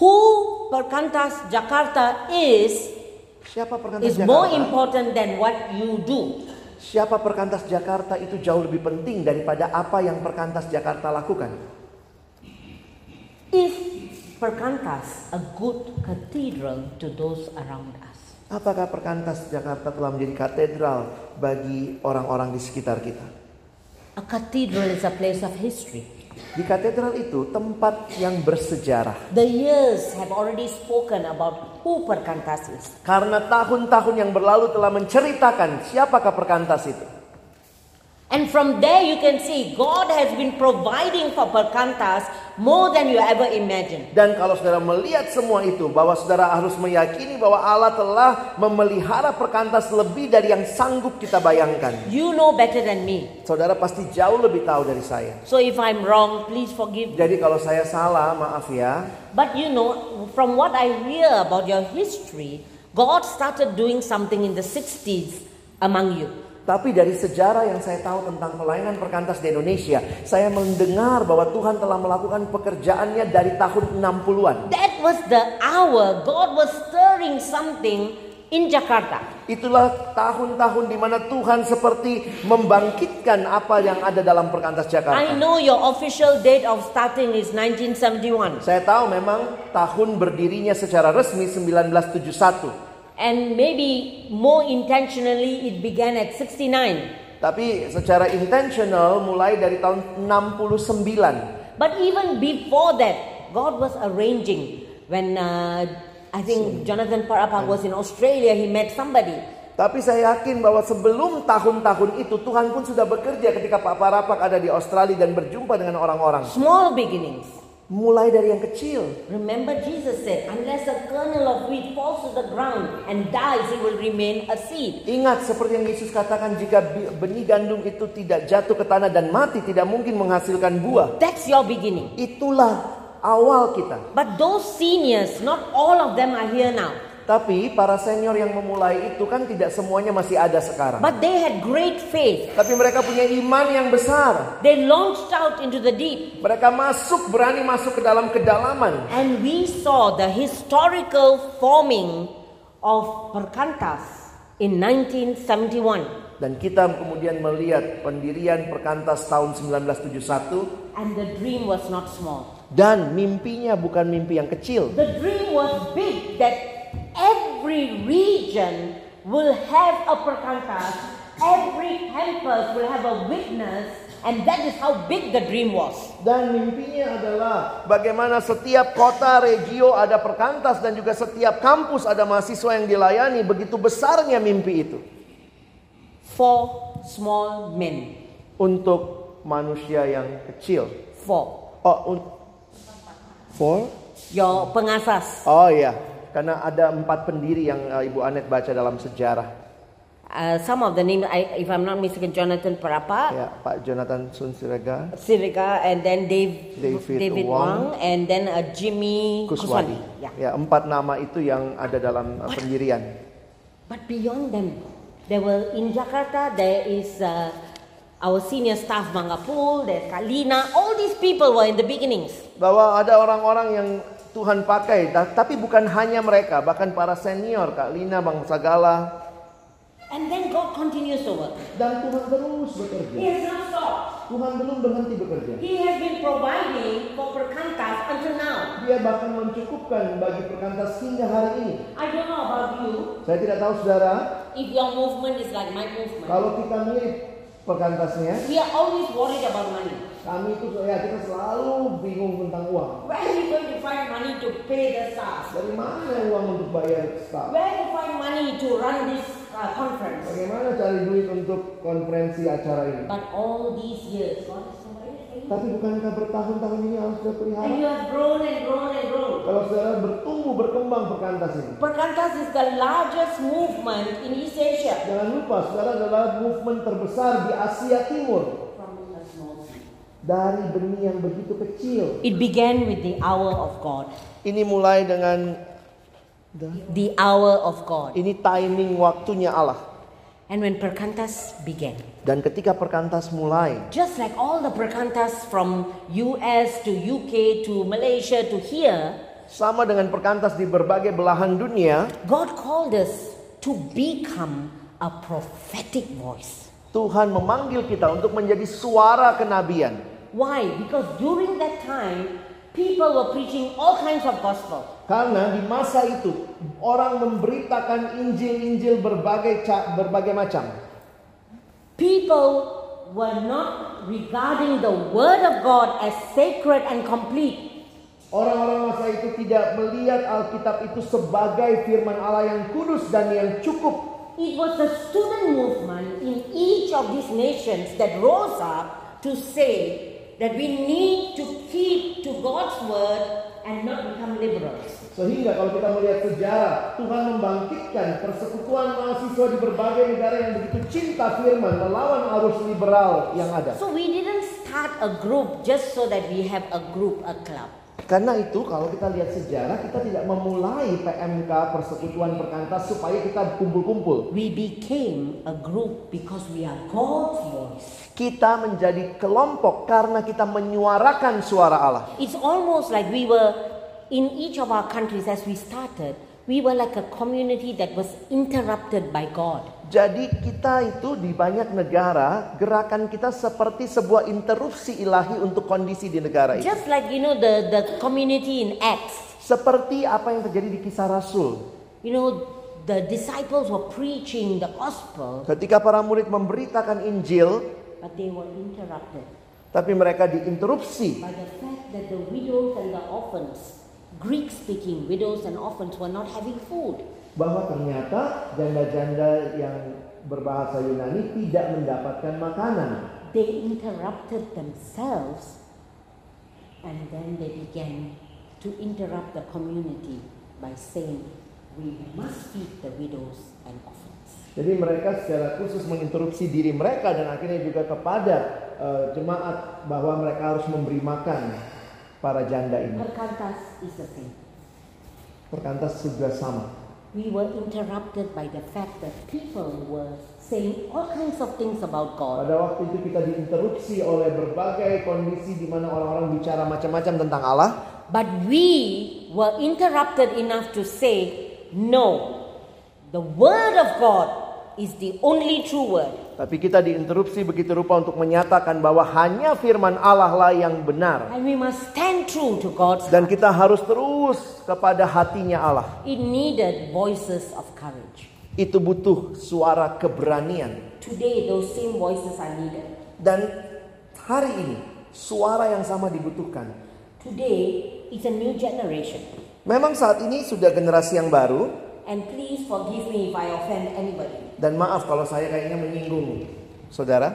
Speaker 2: Who Perkantas Jakarta is
Speaker 1: Siapa Perkantas
Speaker 2: is more
Speaker 1: Jakarta?
Speaker 2: important than what you do.
Speaker 1: Siapa Perkantas Jakarta itu jauh lebih penting daripada apa yang Perkantas Jakarta lakukan.
Speaker 2: If Perkantas a good cathedral to those around us.
Speaker 1: Apakah Perkantas Jakarta telah menjadi katedral bagi orang-orang di sekitar kita?
Speaker 2: A cathedral is a place of history.
Speaker 1: Di katedral itu tempat yang bersejarah.
Speaker 2: The years have already spoken about who Perkantas is.
Speaker 1: Karena tahun-tahun yang berlalu telah menceritakan siapakah Perkantas itu.
Speaker 2: And from there you can see God has been providing for Perkantas more than you ever imagined.
Speaker 1: Dan kalau saudara melihat semua itu, bahwa saudara harus meyakini bahwa Allah telah memelihara perkantas lebih dari yang sanggup kita bayangkan.
Speaker 2: You know better than me.
Speaker 1: Saudara pasti jauh lebih tahu dari saya.
Speaker 2: So if I'm wrong, please forgive me.
Speaker 1: Jadi kalau saya salah, maaf ya.
Speaker 2: But you know, from what I hear about your history, God started doing something in the 60s among you.
Speaker 1: Tapi dari sejarah yang saya tahu tentang pelayanan perkantas di Indonesia, saya mendengar bahwa Tuhan telah melakukan pekerjaannya dari tahun 60-an.
Speaker 2: That was the hour God was stirring something in Jakarta.
Speaker 1: Itulah tahun-tahun di mana Tuhan seperti membangkitkan apa yang ada dalam perkantas
Speaker 2: I
Speaker 1: Jakarta.
Speaker 2: know your official date of starting is 1971.
Speaker 1: Saya tahu memang tahun berdirinya secara resmi 1971.
Speaker 2: And maybe more intentionally, it began at 69.
Speaker 1: Tapi secara intentional mulai dari tahun 69.
Speaker 2: But even before that, God was arranging. When uh, I think Jonathan Parappa was in Australia, he met somebody.
Speaker 1: Tapi saya yakin bahwa sebelum tahun-tahun itu Tuhan pun sudah bekerja ketika Pak Parapak ada di Australia dan berjumpa dengan orang-orang.
Speaker 2: Small beginnings.
Speaker 1: Mulai dari yang kecil.
Speaker 2: Remember, Jesus said, Unless a kernel of wheat falls to the ground and dies, it will remain a seed.
Speaker 1: Ingat seperti yang Yesus katakan jika bi- benih gandum itu tidak jatuh ke tanah dan mati tidak mungkin menghasilkan buah.
Speaker 2: That's your beginning.
Speaker 1: Itulah awal kita.
Speaker 2: But those seniors, not all of them are here now.
Speaker 1: Tapi para senior yang memulai itu kan tidak semuanya masih ada sekarang.
Speaker 2: But they had great faith.
Speaker 1: Tapi mereka punya iman yang besar.
Speaker 2: They launched out into the deep.
Speaker 1: Mereka masuk, berani masuk ke dalam kedalaman.
Speaker 2: And we saw the historical forming of Perkantas in 1971
Speaker 1: Dan kita kemudian melihat pendirian perkantas tahun 1971.
Speaker 2: and the dream was not small.
Speaker 1: Dan mimpinya bukan mimpi yang kecil.
Speaker 2: The dream was big that every region will have a Perkantas, every campus will have a witness and that is how big the dream was.
Speaker 1: Dan mimpinya adalah bagaimana setiap kota, regio ada perkantas dan juga setiap kampus ada mahasiswa yang dilayani. Begitu besarnya mimpi itu.
Speaker 2: Four small men.
Speaker 1: untuk manusia yang kecil.
Speaker 2: Four.
Speaker 1: Oh, un- for?
Speaker 2: Your pengasas.
Speaker 1: Oh iya, karena ada empat pendiri yang eh, Ibu Anet baca dalam sejarah.
Speaker 2: Uh, some of the names, I, if I'm not mistaken, Jonathan Parappa,
Speaker 1: Ya, Pak Jonathan Sun Sirega,
Speaker 2: Sirika and then Dave,
Speaker 1: David
Speaker 2: Wang,
Speaker 1: Wang.
Speaker 2: and then uh, Jimmy
Speaker 1: Kuswadi.
Speaker 2: Kuswadi. Yeah.
Speaker 1: Ya, empat nama itu yang ada dalam eh, pendirian.
Speaker 2: But beyond them, there were in Jakarta there is uh, our senior staff Mangapul, there's Kalina. All these people were in the beginnings.
Speaker 1: Bahwa ada orang-orang yang Tuhan pakai, ta- tapi bukan hanya mereka, bahkan para senior, Kak Lina, Bang Sagala,
Speaker 2: And then God continues to work.
Speaker 1: dan Tuhan terus bekerja.
Speaker 2: He has not stopped.
Speaker 1: Tuhan belum berhenti bekerja.
Speaker 2: He has been providing for Perkantas until now.
Speaker 1: Dia bahkan mencukupkan bagi perkantas hingga hari ini.
Speaker 2: I don't know about you,
Speaker 1: Saya tidak tahu saudara,
Speaker 2: if your movement is like my movement.
Speaker 1: kalau kita mirip perkantasnya,
Speaker 2: We are always worried about money.
Speaker 1: kami itu ya kita selalu bingung tentang uang.
Speaker 2: Where are we going to find money to pay the staff?
Speaker 1: Dari mana uang untuk bayar staff?
Speaker 2: Where to find money to run this uh, conference?
Speaker 1: Bagaimana cari duit untuk konferensi acara ini?
Speaker 2: But all these years, God has provided for you.
Speaker 1: Tapi bukankah bertahun-tahun ini harus sudah
Speaker 2: And
Speaker 1: pelihara?
Speaker 2: you have grown and grown and grown.
Speaker 1: Kalau saudara bertumbuh berkembang perkantas ini,
Speaker 2: Perkantas is the largest movement in East Asia.
Speaker 1: jangan lupa saudara adalah movement terbesar di Asia Timur dari benih yang begitu kecil.
Speaker 2: It began with the hour of God.
Speaker 1: Ini mulai dengan The-
Speaker 2: the hour of God.
Speaker 1: Ini timing waktunya Allah.
Speaker 2: And when Perkantas began,
Speaker 1: Dan ketika perkantas mulai,
Speaker 2: just like all the Perkantas from US to UK to Malaysia to here,
Speaker 1: sama dengan perkantas di berbagai belahan dunia,
Speaker 2: God called us to become a prophetic voice.
Speaker 1: Tuhan memanggil kita untuk menjadi suara kenabian.
Speaker 2: Why? Because during that time, people were preaching all kinds of gospel.
Speaker 1: Karena di masa itu orang memberitakan Injil-Injil berbagai ca- berbagai macam.
Speaker 2: People were not regarding the word of God as sacred and complete.
Speaker 1: Orang-orang masa itu tidak melihat Alkitab itu sebagai firman Allah yang kudus dan yang cukup.
Speaker 2: It was the student movement in each of these nations that rose up to say that we need to keep to God's word and not become liberals.
Speaker 1: Sehingga kalau kita melihat sejarah, Tuhan membangkitkan persekutuan mahasiswa di berbagai negara yang begitu cinta firman melawan arus liberal yang ada.
Speaker 2: So we didn't start a group just so that we have a group, a club.
Speaker 1: Karena itu kalau kita lihat sejarah, kita tidak memulai PMK persekutuan perkantas supaya kita kumpul-kumpul.
Speaker 2: We became a group because we are God's voice.
Speaker 1: Kita menjadi kelompok karena kita menyuarakan suara Allah.
Speaker 2: It's almost like we were in each of our countries as we started, we were like a community that was interrupted by God.
Speaker 1: Jadi kita itu di banyak negara, gerakan kita seperti sebuah interupsi ilahi untuk kondisi di negara itu.
Speaker 2: Just like you know the, the community in Acts,
Speaker 1: Seperti apa yang terjadi di kisah Rasul.
Speaker 2: you know the disciples were preaching the gospel,
Speaker 1: Ketika para murid memberitakan Injil,
Speaker 2: but they were interrupted
Speaker 1: tapi mereka diinterupsi.
Speaker 2: by the fact that the widows and the orphans, Greek speaking widows and orphans were not having food.
Speaker 1: Bahwa ternyata janda-janda yang berbahasa Yunani tidak mendapatkan makanan.
Speaker 2: They interrupted themselves and then they began to interrupt the community by saying, We must feed the widows and orphans.
Speaker 1: Jadi mereka secara khusus menginterupsi diri mereka dan akhirnya juga kepada eh, jemaat bahwa mereka harus memberi makan para janda ini.
Speaker 2: Perkantas is the same.
Speaker 1: Perkantas juga sama.
Speaker 2: We were interrupted by the fact that people were saying all kinds of things about God.
Speaker 1: Pada waktu itu kita diinterupsi oleh berbagai kondisi di mana orang-orang bicara macam-macam tentang Allah,
Speaker 2: But we were interrupted enough to say, No, the Word of God is the only true Word.
Speaker 1: tapi kita diinterupsi begitu rupa untuk menyatakan bahwa hanya firman Allah lah yang benar
Speaker 2: And we must stand true to God's
Speaker 1: dan kita harus terus kepada hatinya Allah.
Speaker 2: It needed voices of courage.
Speaker 1: Itu butuh suara keberanian.
Speaker 2: Today, those same voices are needed.
Speaker 1: Dan hari ini suara yang sama dibutuhkan.
Speaker 2: Today, it's a new generation.
Speaker 1: Memang saat ini sudah generasi yang baru
Speaker 2: And please forgive me if I offend anybody.
Speaker 1: dan maaf kalau saya kayaknya menyinggung saudara.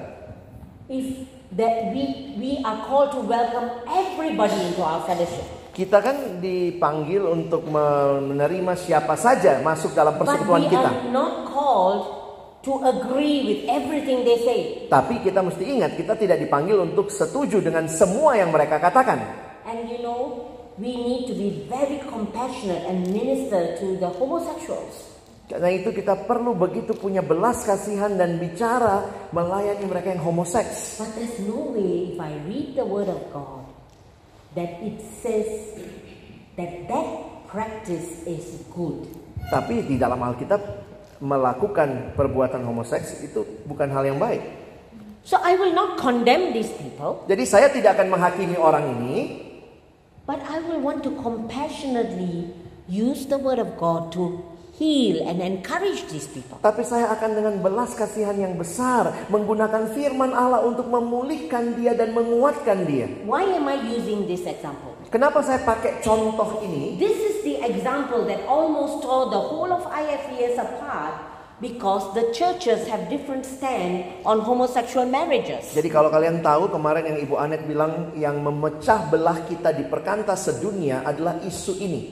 Speaker 2: If that we, we are called to welcome everybody into our fellowship.
Speaker 1: Kita kan dipanggil untuk menerima siapa saja masuk dalam
Speaker 2: But
Speaker 1: persekutuan
Speaker 2: we
Speaker 1: kita.
Speaker 2: are not called to agree with everything they say.
Speaker 1: Tapi kita mesti ingat kita tidak dipanggil untuk setuju dengan semua yang mereka katakan.
Speaker 2: And you know, we need to be very compassionate and minister to the homosexuals.
Speaker 1: Karena itu kita perlu begitu punya belas kasihan dan bicara melayani mereka yang homoseks.
Speaker 2: But there's no way if I read the word of God that it says that that practice is good.
Speaker 1: Tapi di dalam Alkitab melakukan perbuatan homoseks itu bukan hal yang baik.
Speaker 2: So I will not condemn these people,
Speaker 1: Jadi saya tidak akan menghakimi orang ini,
Speaker 2: but I will want to compassionately use the word of God to heal and encourage these people.
Speaker 1: tapi saya akan dengan belas kasihan yang besar menggunakan firman Allah untuk memulihkan dia dan menguatkan dia.
Speaker 2: Why am I using this example?
Speaker 1: Kenapa saya pakai contoh ini?
Speaker 2: This is the example that almost tore the whole of IFES apart because the churches have different stand on homosexual marriages.
Speaker 1: Jadi kalau kalian tahu kemarin yang Ibu Anet bilang yang memecah belah kita di perkantas sedunia adalah isu ini.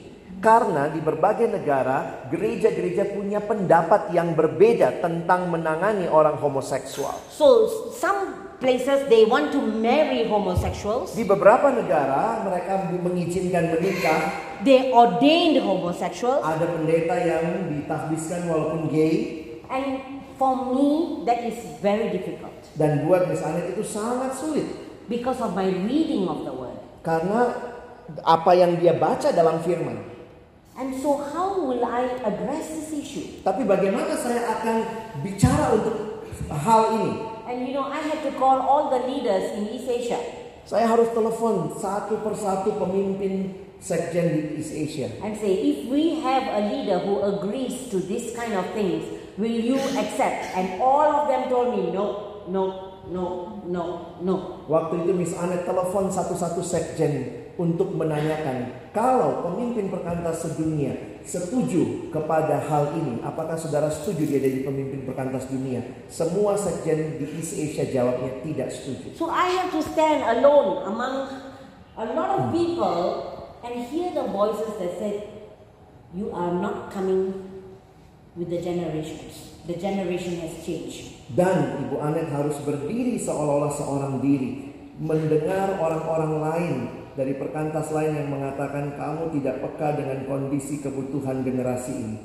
Speaker 1: Karena di berbagai negara gereja-gereja punya pendapat yang berbeda tentang menangani orang homoseksual.
Speaker 2: So some places they want to marry homosexuals,
Speaker 1: Di beberapa negara mereka mengizinkan menikah.
Speaker 2: they ordained homosexuals,
Speaker 1: Ada pendeta yang ditahbiskan walaupun gay
Speaker 2: and for me that is very difficult
Speaker 1: dan buat misalnya itu sangat sulit
Speaker 2: because of my reading of the word.
Speaker 1: karena apa yang dia baca dalam firman.
Speaker 2: And so how will I address this issue?
Speaker 1: Tapi bagaimana saya akan bicara untuk hal ini?
Speaker 2: And you know, I had to call all the leaders in East Asia.
Speaker 1: Saya harus telepon satu persatu pemimpin sekjen di East Asia.
Speaker 2: and say, if we have a leader who agrees to this kind of things, will you accept? And all of them told me, no, no, no, no, no.
Speaker 1: Waktu itu Miss Anet telepon satu-satu sekjen untuk menanyakan kalau pemimpin perkantas sedunia setuju kepada hal ini, apakah saudara setuju dia jadi pemimpin perkantas dunia? Semua sekjen di East Asia jawabnya tidak setuju.
Speaker 2: So I have to stand alone among a lot of people and hear the voices that said, you are not coming with the generations. The generation has changed.
Speaker 1: Dan Ibu Anet harus berdiri seolah-olah seorang diri, mendengar orang-orang lain dari perkantas lain yang mengatakan kamu tidak peka dengan kondisi kebutuhan generasi ini.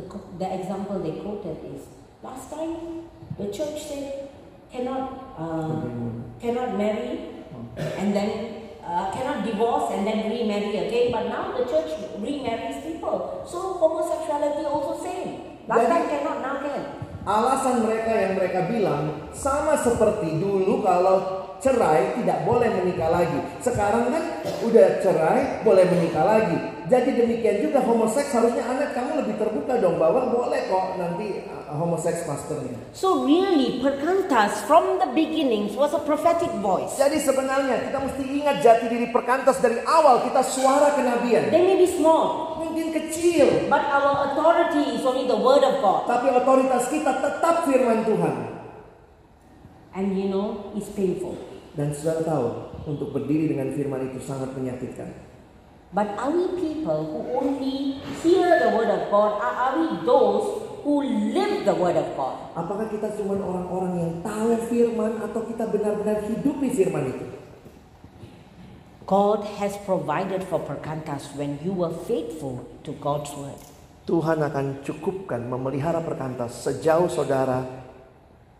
Speaker 2: The, co- the example they quoted is, last time the church said, cannot uh, cannot marry and then uh, cannot divorce and then remarry again. But now the church remarries people. So homosexuality also same. Last
Speaker 1: Jadi-
Speaker 2: time cannot, now can.
Speaker 1: Alasan mereka yang mereka bilang sama seperti dulu kalau cerai tidak boleh menikah lagi. Sekarang kan udah cerai boleh menikah lagi. Jadi demikian juga homoseks harusnya anak kamu lebih terbuka dong bahwa boleh kok nanti uh, homoseks pastornya.
Speaker 2: So really, Perkantas from the beginnings was a prophetic voice.
Speaker 1: Jadi sebenarnya kita mesti ingat jati diri perkantas dari awal kita suara kenabian.
Speaker 2: They may be small,
Speaker 1: Mungkin kecil,
Speaker 2: but our authority is only the word of God.
Speaker 1: tapi otoritas kita tetap firman Tuhan.
Speaker 2: And you know, it's painful.
Speaker 1: Dan saudara tahu, untuk berdiri dengan firman itu sangat menyakitkan.
Speaker 2: But are we people who only hear the word of God, or are we those who live the word of God?
Speaker 1: Apakah kita cuma orang-orang yang tahu firman atau kita benar-benar hidupi firman itu?
Speaker 2: God has provided for Perkantas when you were faithful to God's word.
Speaker 1: Tuhan akan cukupkan memelihara perkantas sejauh saudara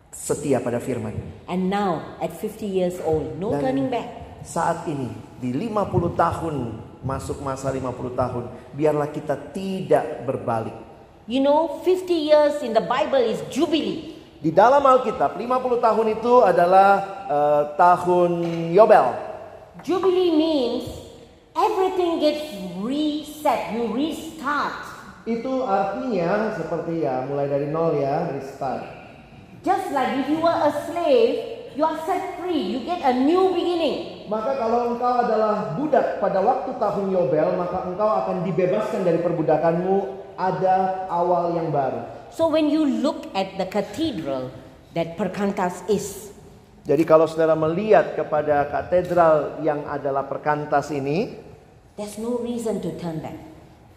Speaker 1: setia pada firman.
Speaker 2: And now, at 50 years old, no
Speaker 1: Dan-
Speaker 2: turning back.
Speaker 1: Saat ini di 50 tahun masuk masa 50 tahun, biarlah kita tidak berbalik.
Speaker 2: You know, 50 years in the Bible is jubilee.
Speaker 1: Di dalam Alkitab 50 tahun itu adalah eh, tahun Yobel.
Speaker 2: Jubilee means everything gets reset, you restart.
Speaker 1: Itu artinya seperti ya mulai dari nol ya, restart.
Speaker 2: Just like if you were a slave, you are set free, you get a new beginning.
Speaker 1: Maka kalau engkau adalah budak pada waktu tahun Yobel, maka engkau akan dibebaskan dari perbudakanmu ada awal yang baru.
Speaker 2: So when you look at the cathedral that Perkantas is,
Speaker 1: Jadi kalau saudara melihat kepada katedral yang adalah perkantas ini,
Speaker 2: there's no reason to turn back.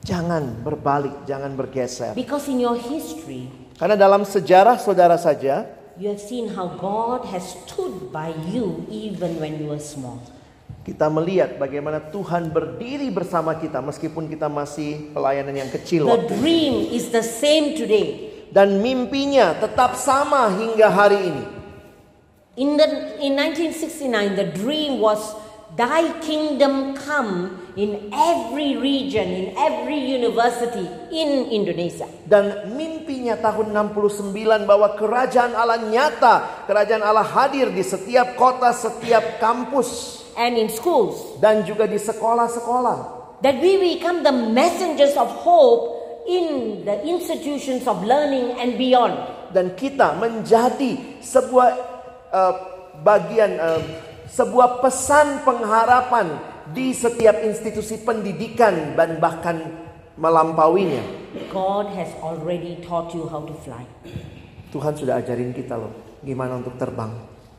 Speaker 1: jangan berbalik, jangan bergeser.
Speaker 2: Because in your history,
Speaker 1: Karena dalam sejarah saudara saja,
Speaker 2: you have seen how God has stood by you even when you were small.
Speaker 1: kita melihat bagaimana Tuhan berdiri bersama kita meskipun kita masih pelayanan yang kecil.
Speaker 2: The dream is the same today.
Speaker 1: Dan mimpinya tetap sama hingga hari ini.
Speaker 2: In, the, in 1969, the dream was Thy kingdom come in every region, in every university in Indonesia.
Speaker 1: dan mimpinya tahun 69 bahwa kerajaan Allah nyata, kerajaan Allah hadir di setiap kota, setiap kampus
Speaker 2: And in schools,
Speaker 1: dan juga di sekolah-sekolah.
Speaker 2: that we become the messengers of hope in the institutions of learning and beyond.
Speaker 1: Dan kita menjadi sebuah eh, bagian eh, sebuah pesan pengharapan di setiap institusi pendidikan dan bahkan melampauinya.
Speaker 2: God has already taught you how to fly.
Speaker 1: Tuhan sudah ajarin kita loh gimana untuk terbang.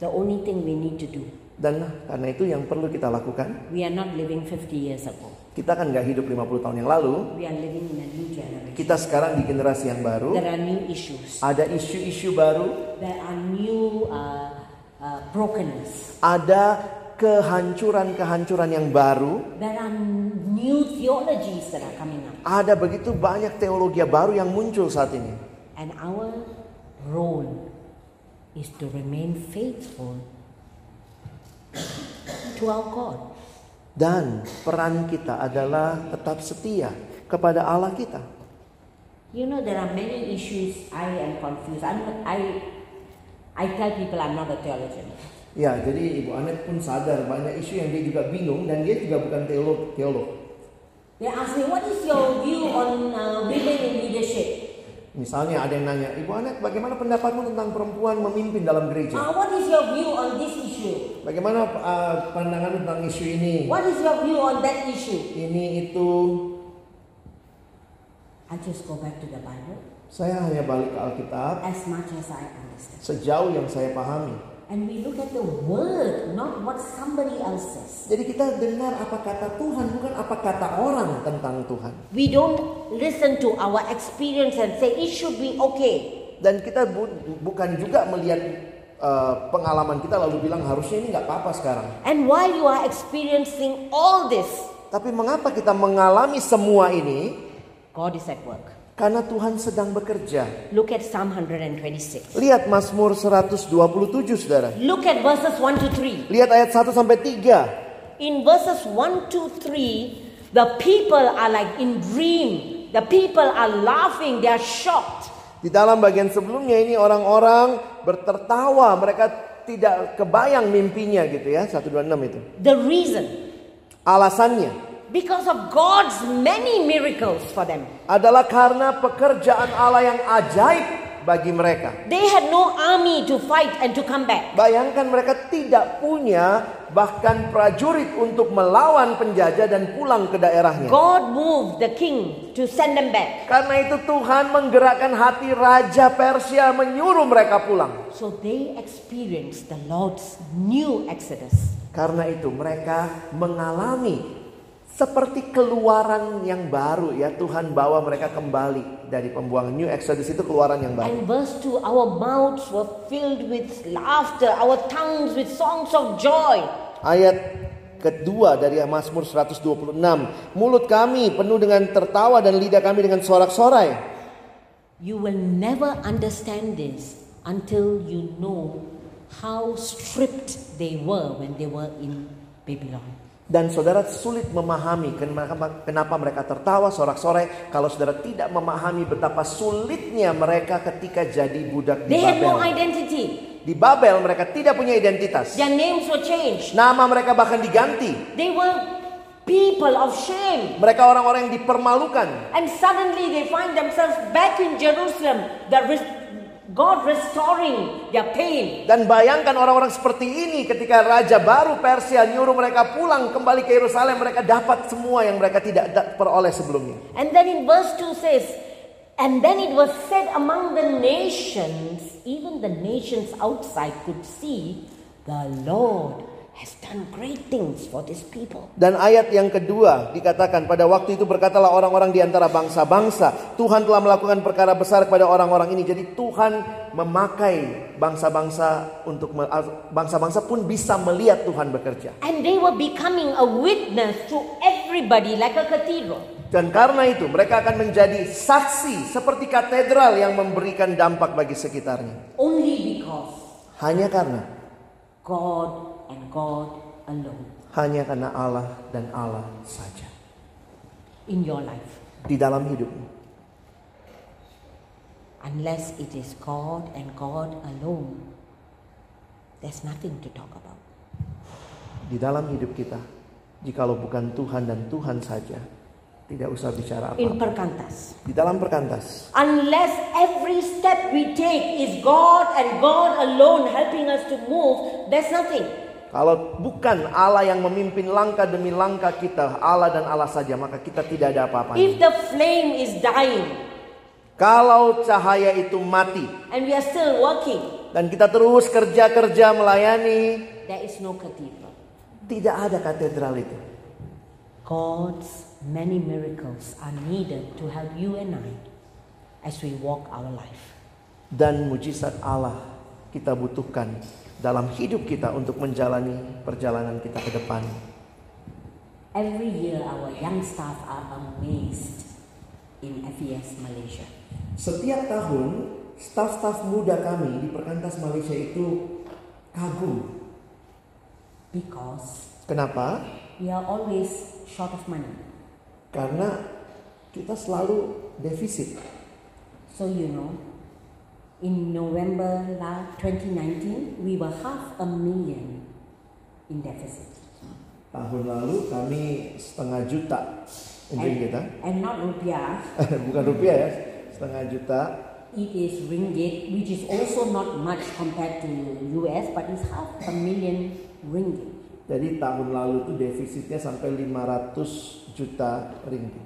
Speaker 2: The only thing we need to do,
Speaker 1: Dan nah, karena itu yang perlu kita lakukan,
Speaker 2: we are not living 50 years ago,
Speaker 1: kita kan nggak hidup 50 tahun yang lalu,
Speaker 2: we are living in a new generation.
Speaker 1: Kita sekarang di generasi yang baru,
Speaker 2: There are new issues.
Speaker 1: ada isu-isu baru,
Speaker 2: There are new uh, uh, brokenness.
Speaker 1: ada kehancuran-kehancuran yang baru,
Speaker 2: There are new theologies that are coming up.
Speaker 1: ada begitu banyak teologi baru yang muncul saat ini.
Speaker 2: And our role is to remain faithful to our God.
Speaker 1: Dan peran kita adalah tetap setia kepada Allah kita.
Speaker 2: You know, there are many issues. I am confused. I'm, I, I tell people I'm not a theologian.
Speaker 1: Ya, jadi Ibu Anet pun sadar banyak isu yang dia juga bingung dan dia juga bukan teolog. teolog.
Speaker 2: They ask me, what is your view on uh, women in leadership?
Speaker 1: Misalnya ada yang nanya, Ibu Anet bagaimana pendapatmu tentang perempuan memimpin dalam gereja?
Speaker 2: Uh, what is your view on this issue?
Speaker 1: Bagaimana uh, pandangan tentang isu ini?
Speaker 2: What is your view on that issue?
Speaker 1: Ini itu
Speaker 2: I just go back to the Bible
Speaker 1: saya hanya balik ke Alkitab
Speaker 2: as much as I understand.
Speaker 1: sejauh yang saya pahami.
Speaker 2: And we look at the word, not what somebody else says.
Speaker 1: Jadi kita dengar apa kata Tuhan, bukan apa kata orang tentang Tuhan.
Speaker 2: We don't listen to our experience and say it should be okay.
Speaker 1: Dan kita bu- bukan juga melihat uh, pengalaman kita lalu bilang harusnya ini nggak apa-apa sekarang.
Speaker 2: And while you are experiencing all this,
Speaker 1: Tapi mengapa kita mengalami semua ini?
Speaker 2: God is at work.
Speaker 1: Karena Tuhan sedang bekerja.
Speaker 2: Look at Psalm 126.
Speaker 1: Lihat Mazmur 127 Saudara.
Speaker 2: Look at verses 1 to 3.
Speaker 1: Lihat ayat 1 sampai 3.
Speaker 2: In verses 1 to 3, the people are like in dream. The people are laughing, they are shocked.
Speaker 1: Di dalam bagian sebelumnya ini orang-orang bertertawa, mereka tidak kebayang mimpinya gitu ya, 126 itu.
Speaker 2: The reason
Speaker 1: Alasannya
Speaker 2: because of God's many miracles for them.
Speaker 1: adalah karena pekerjaan Allah yang ajaib bagi mereka.
Speaker 2: They had no army to fight and to come back.
Speaker 1: Bayangkan mereka tidak punya bahkan prajurit untuk melawan penjajah dan pulang ke daerahnya.
Speaker 2: God moved the king to send them back.
Speaker 1: Karena itu Tuhan menggerakkan hati raja Persia menyuruh mereka pulang.
Speaker 2: So they experienced the Lord's new exodus.
Speaker 1: Karena itu mereka mengalami seperti keluaran yang baru ya Tuhan bawa mereka kembali dari pembuangan New Exodus itu keluaran yang baru.
Speaker 2: And verse 2 Our mouths were filled with laughter, our tongues with songs of joy.
Speaker 1: Ayat kedua dari Mazmur 126, mulut kami penuh dengan tertawa dan lidah kami dengan sorak-sorai.
Speaker 2: You will never understand this until you know how stripped they were when they were in Babylon.
Speaker 1: Dan saudara sulit memahami kenapa, kenapa mereka tertawa sorak-sorai kalau saudara tidak memahami betapa sulitnya mereka ketika jadi budak di
Speaker 2: They had no Ya.
Speaker 1: Babel.
Speaker 2: identity,
Speaker 1: Di Babel mereka tidak punya identitas.
Speaker 2: their names were changed.
Speaker 1: Nama mereka bahkan diganti.
Speaker 2: They were people of shame.
Speaker 1: Mereka orang-orang yang dipermalukan.
Speaker 2: And suddenly they find themselves back in Jerusalem, the res- God restoring their pain.
Speaker 1: Dan bayangkan orang-orang seperti ini ketika raja baru Persia nyuruh mereka pulang kembali ke Yerusalem, mereka dapat semua yang mereka tidak da- peroleh sebelumnya.
Speaker 2: And then in verse 2 says, And then it was said among the nations, even the nations outside could see, the Lord has done great things for this people.
Speaker 1: Dan ayat yang kedua dikatakan pada waktu itu berkatalah orang-orang di antara bangsa-bangsa, Tuhan telah melakukan perkara besar kepada orang-orang ini. Jadi Tuhan memakai bangsa-bangsa untuk me- bangsa-bangsa pun bisa melihat Tuhan bekerja.
Speaker 2: And they were becoming a witness to everybody like a cathedral.
Speaker 1: Dan karena itu mereka akan menjadi saksi seperti katedral yang memberikan dampak bagi sekitarnya.
Speaker 2: Only because
Speaker 1: Hanya karena,
Speaker 2: God and God alone
Speaker 1: hanya karena Allah dan Allah saja.
Speaker 2: in your life.
Speaker 1: Di dalam hidupmu.
Speaker 2: Unless it is God and God alone, there's nothing to talk about.
Speaker 1: Di dalam hidup kita. Jikalau bukan Tuhan dan Tuhan saja. Tidak usah bicara
Speaker 2: In
Speaker 1: apa-apa.
Speaker 2: Perkantas.
Speaker 1: Di dalam perkantas.
Speaker 2: Unless every step we take is God and God alone helping us to move, there's nothing.
Speaker 1: Kalau bukan Allah yang memimpin langkah demi langkah kita. Allah dan Allah saja. Maka kita tidak ada
Speaker 2: If
Speaker 1: apa-apanya.
Speaker 2: the flame is dying
Speaker 1: Kalau cahaya itu mati.
Speaker 2: and we are still working,
Speaker 1: Dan kita terus kerja-kerja melayani.
Speaker 2: there is no cathedral.
Speaker 1: Tidak ada katedral itu.
Speaker 2: God's many miracles are needed to help you and I as we walk our life.
Speaker 1: dan mujizat Allah kita butuhkan dalam hidup kita untuk menjalani perjalanan kita ke depan.
Speaker 2: Every year, our young staff are amazed in FES Malaysia.
Speaker 1: Setiap tahun, staf-staf muda kami di Perkantas Malaysia itu kagum.
Speaker 2: because
Speaker 1: Kenapa?
Speaker 2: we are always short of money.
Speaker 1: Karena kita selalu defisit.
Speaker 2: So, you know, in November la- 2019, we were half a million in deficit.
Speaker 1: Tahun lalu kami setengah juta unjung kita,
Speaker 2: And, and not rupiah,
Speaker 1: bukan rupiah ya, setengah juta.
Speaker 2: it is ringgit, which is also not much compared to US, but it's half a million ringgit.
Speaker 1: Jadi tahun lalu itu defisitnya sampai 500 juta ringgit.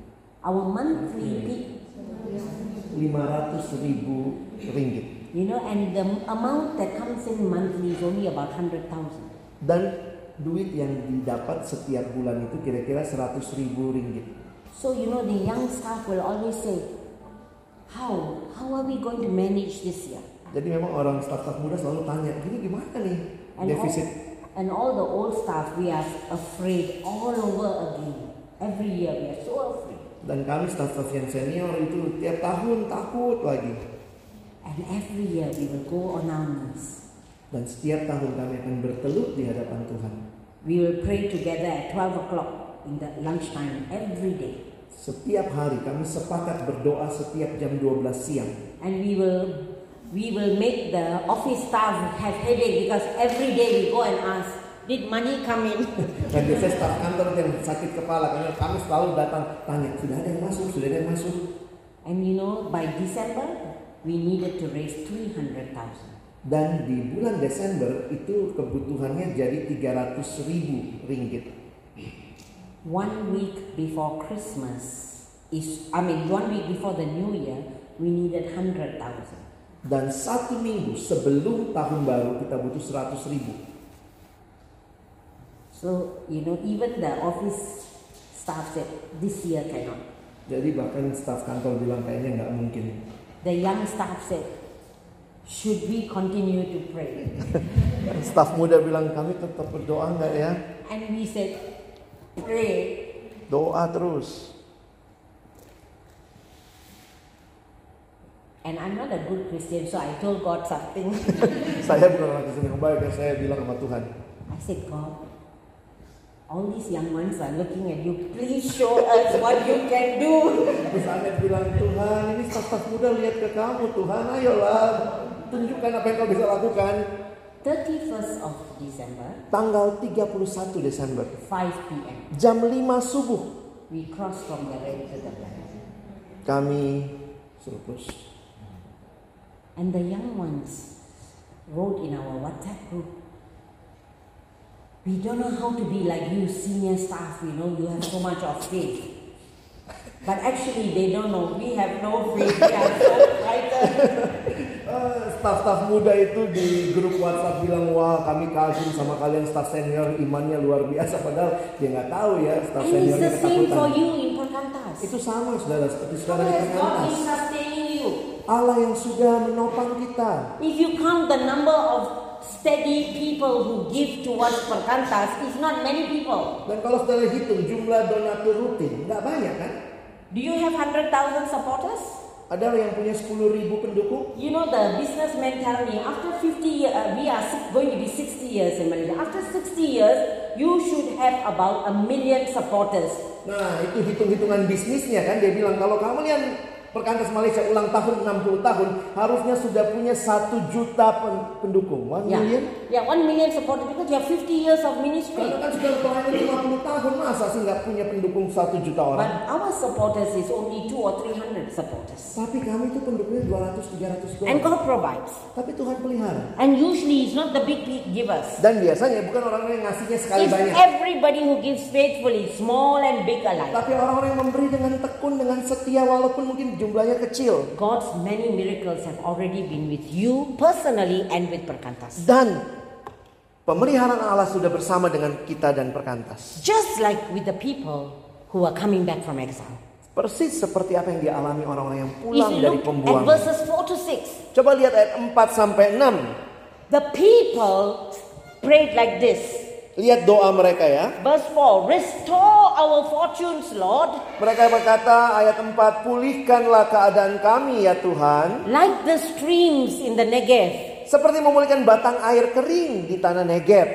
Speaker 2: Our monthly peak,
Speaker 1: 500 ribu ringgit.
Speaker 2: you know, and the amount that comes in monthly is only about 100,000.
Speaker 1: dan duit yang didapat setiap bulan itu kira-kira 100 ribu ringgit.
Speaker 2: So you know the young staff will always say, "How how are we going to manage this year?"
Speaker 1: Jadi memang orang startup muda selalu tanya, ini gimana nih defisit?
Speaker 2: all, and all the old staff, we are afraid all over again. Every year we are so afraid.
Speaker 1: Dan kami startup yang senior itu tiap tahun takut lagi.
Speaker 2: And every year we will go on our knees.
Speaker 1: Dan setiap tahun kami akan bertelut di hadapan Tuhan.
Speaker 2: We will pray together at 12 o'clock in the lunchtime every day.
Speaker 1: Setiap hari kami sepakat berdoa setiap jam 12 siang.
Speaker 2: And we will we will make the office staff have headache because every day we go and ask, did money come in?
Speaker 1: Dan biasanya staff kantor yang sakit kepala karena kami selalu datang tanya, sudah ada yang masuk, sudah ada yang masuk.
Speaker 2: And you know, by December, we needed to raise 300,000.
Speaker 1: Dan di bulan Desember itu kebutuhannya jadi 300 ribu ringgit.
Speaker 2: One week before Christmas is, I mean, one week before the new year, we needed 100,000.
Speaker 1: Dan satu minggu sebelum tahun baru kita butuh 100 ribu.
Speaker 2: So, you know, even the office staff said, this year cannot.
Speaker 1: Jadi bahkan staf kantor bilang kayaknya nggak mungkin.
Speaker 2: The young staff said, should we continue to pray?
Speaker 1: Staf muda bilang kami tetap berdoa nggak ya?
Speaker 2: and we said, pray.
Speaker 1: Doa terus.
Speaker 2: And I'm not a good Christian, so I told God something.
Speaker 1: Saya bukan orang Kristen yang baik, ya. saya bilang sama Tuhan.
Speaker 2: I said, God, all these young ones are looking at you. Please show us what you can do.
Speaker 1: Terus Anet bilang, Tuhan ini staf-staf muda lihat ke kamu, Tuhan ayolah tunjukkan apa yang kau bisa lakukan.
Speaker 2: 31st of December,
Speaker 1: Tanggal 31 Desember,
Speaker 2: 5 p.m.,
Speaker 1: jam 5 subuh,
Speaker 2: we crossed from the red to the black.
Speaker 1: kami surplus.
Speaker 2: And the young ones wrote in our WhatsApp group, We don't know how to be like you, senior staff, you know, you have so much of faith. But actually, they don't know. We have no faith. We are so frightened.
Speaker 1: Eh, Staf-staf muda itu di grup WhatsApp bilang, wah kami kagum sama kalian staf senior imannya luar biasa. Padahal dia nggak tahu ya staf
Speaker 2: And it's
Speaker 1: seniornya
Speaker 2: the same for
Speaker 1: ketakutan.
Speaker 2: you in Perkantas.
Speaker 1: Itu sama saudara seperti saudara di
Speaker 2: Where is God
Speaker 1: atas.
Speaker 2: is sustaining you.
Speaker 1: Allah yang sudah menopang kita.
Speaker 2: If you count the number of steady people who give towards Perkantas, it's not many people.
Speaker 1: Dan kalau saudara hitung jumlah donatur rutin, nggak banyak kan?
Speaker 2: Do you have 100,000 supporters?
Speaker 1: Ada yang punya 10.000 pendukung?
Speaker 2: You know, the businessmen tell me after 50 years, we are six- going to be 60 years in Malaysia. After 60 years, you should have about a million supporters.
Speaker 1: Nah, itu hitung-hitungan bisnisnya kan. Dia bilang kalau kamu lihat Perkantas Malaysia ulang tahun 60 tahun harusnya sudah punya satu juta pen- pendukung. One
Speaker 2: Ya.
Speaker 1: million.
Speaker 2: yeah, one million supporters because you have 50 years of ministry.
Speaker 1: Karena kan sudah pelayan 50 tahun masa sih nggak punya pendukung satu juta orang.
Speaker 2: But our supporters is only two or three hundred supporters.
Speaker 1: Tapi kami itu pendukungnya 200 300 doang.
Speaker 2: And God provides.
Speaker 1: Tapi Tuhan pelihara.
Speaker 2: And usually it's not the big big givers.
Speaker 1: Dan biasanya bukan orang yang ngasihnya sekali
Speaker 2: It's
Speaker 1: banyak.
Speaker 2: everybody who gives faithfully, small and big alike.
Speaker 1: Tapi orang-orang yang memberi dengan tekun, dengan setia walaupun mungkin jumlahnya kecil.
Speaker 2: God's many miracles have already been with you personally and with Perkantas.
Speaker 1: Dan pemeliharaan Allah sudah bersama dengan kita dan perkantas.
Speaker 2: Just like with the people who are coming back from exile.
Speaker 1: Persis seperti apa yang dialami orang-orang yang
Speaker 2: If
Speaker 1: pulang
Speaker 2: you
Speaker 1: dari
Speaker 2: look at
Speaker 1: pembuangan.
Speaker 2: verses 4 to 6,
Speaker 1: Coba lihat ayat 4 sampai 6.
Speaker 2: the people prayed like this.
Speaker 1: Lihat doa mereka ya.
Speaker 2: Verse 4 Restore our fortunes, Lord,
Speaker 1: Mereka berkata ayat 4, pulihkanlah keadaan kami ya Tuhan.
Speaker 2: like the streams in the Negev.
Speaker 1: Seperti memulihkan batang air kering di tanah Negev.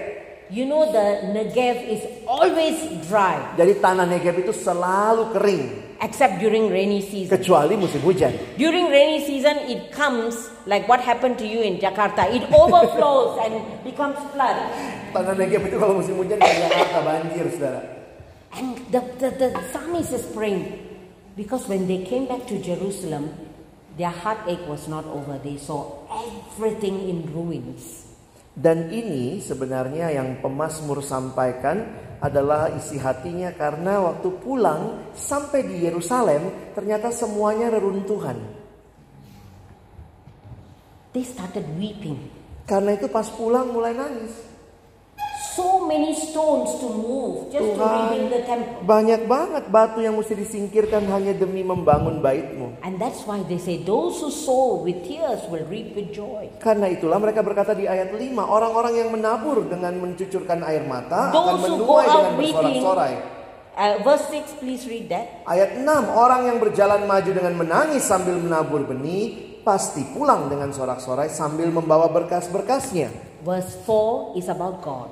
Speaker 2: You know the Negev is always dry
Speaker 1: Jadi tanah Negev itu selalu kering.
Speaker 2: except during rainy season.
Speaker 1: Kecuali musim hujan.
Speaker 2: During rainy season it comes like what happened to you in Jakarta. It overflows and becomes flood.
Speaker 1: Tanah Negev itu kalau musim hujan di Jakarta banjir saudara.
Speaker 2: And the, the, the psalmist is praying because when they came back to Jerusalem, their heartache was not over. They saw everything in ruins.
Speaker 1: Dan ini sebenarnya yang pemazmur sampaikan adalah isi hatinya karena waktu pulang sampai di Yerusalem ternyata semuanya reruntuhan.
Speaker 2: They started weeping.
Speaker 1: Karena itu pas pulang mulai nangis.
Speaker 2: So many stones to move just
Speaker 1: Tuhan.
Speaker 2: to rebuild the temple.
Speaker 1: Banyak banget batu yang mesti disingkirkan hanya demi membangun baitmu.
Speaker 2: And that's why they say, Those who sow with tears will reap with joy.
Speaker 1: Karena itulah mereka berkata di ayat 5, orang-orang yang menabur dengan mencucurkan air mata akan
Speaker 2: Those who go
Speaker 1: menuai dengan
Speaker 2: out weeping.
Speaker 1: bersorak-sorai.
Speaker 2: Uh, verse 6, please read that.
Speaker 1: Ayat 6, orang yang berjalan maju dengan menangis sambil menabur benih pasti pulang dengan sorak-sorai sambil membawa berkas-berkasnya.
Speaker 2: Verse 4 is about God.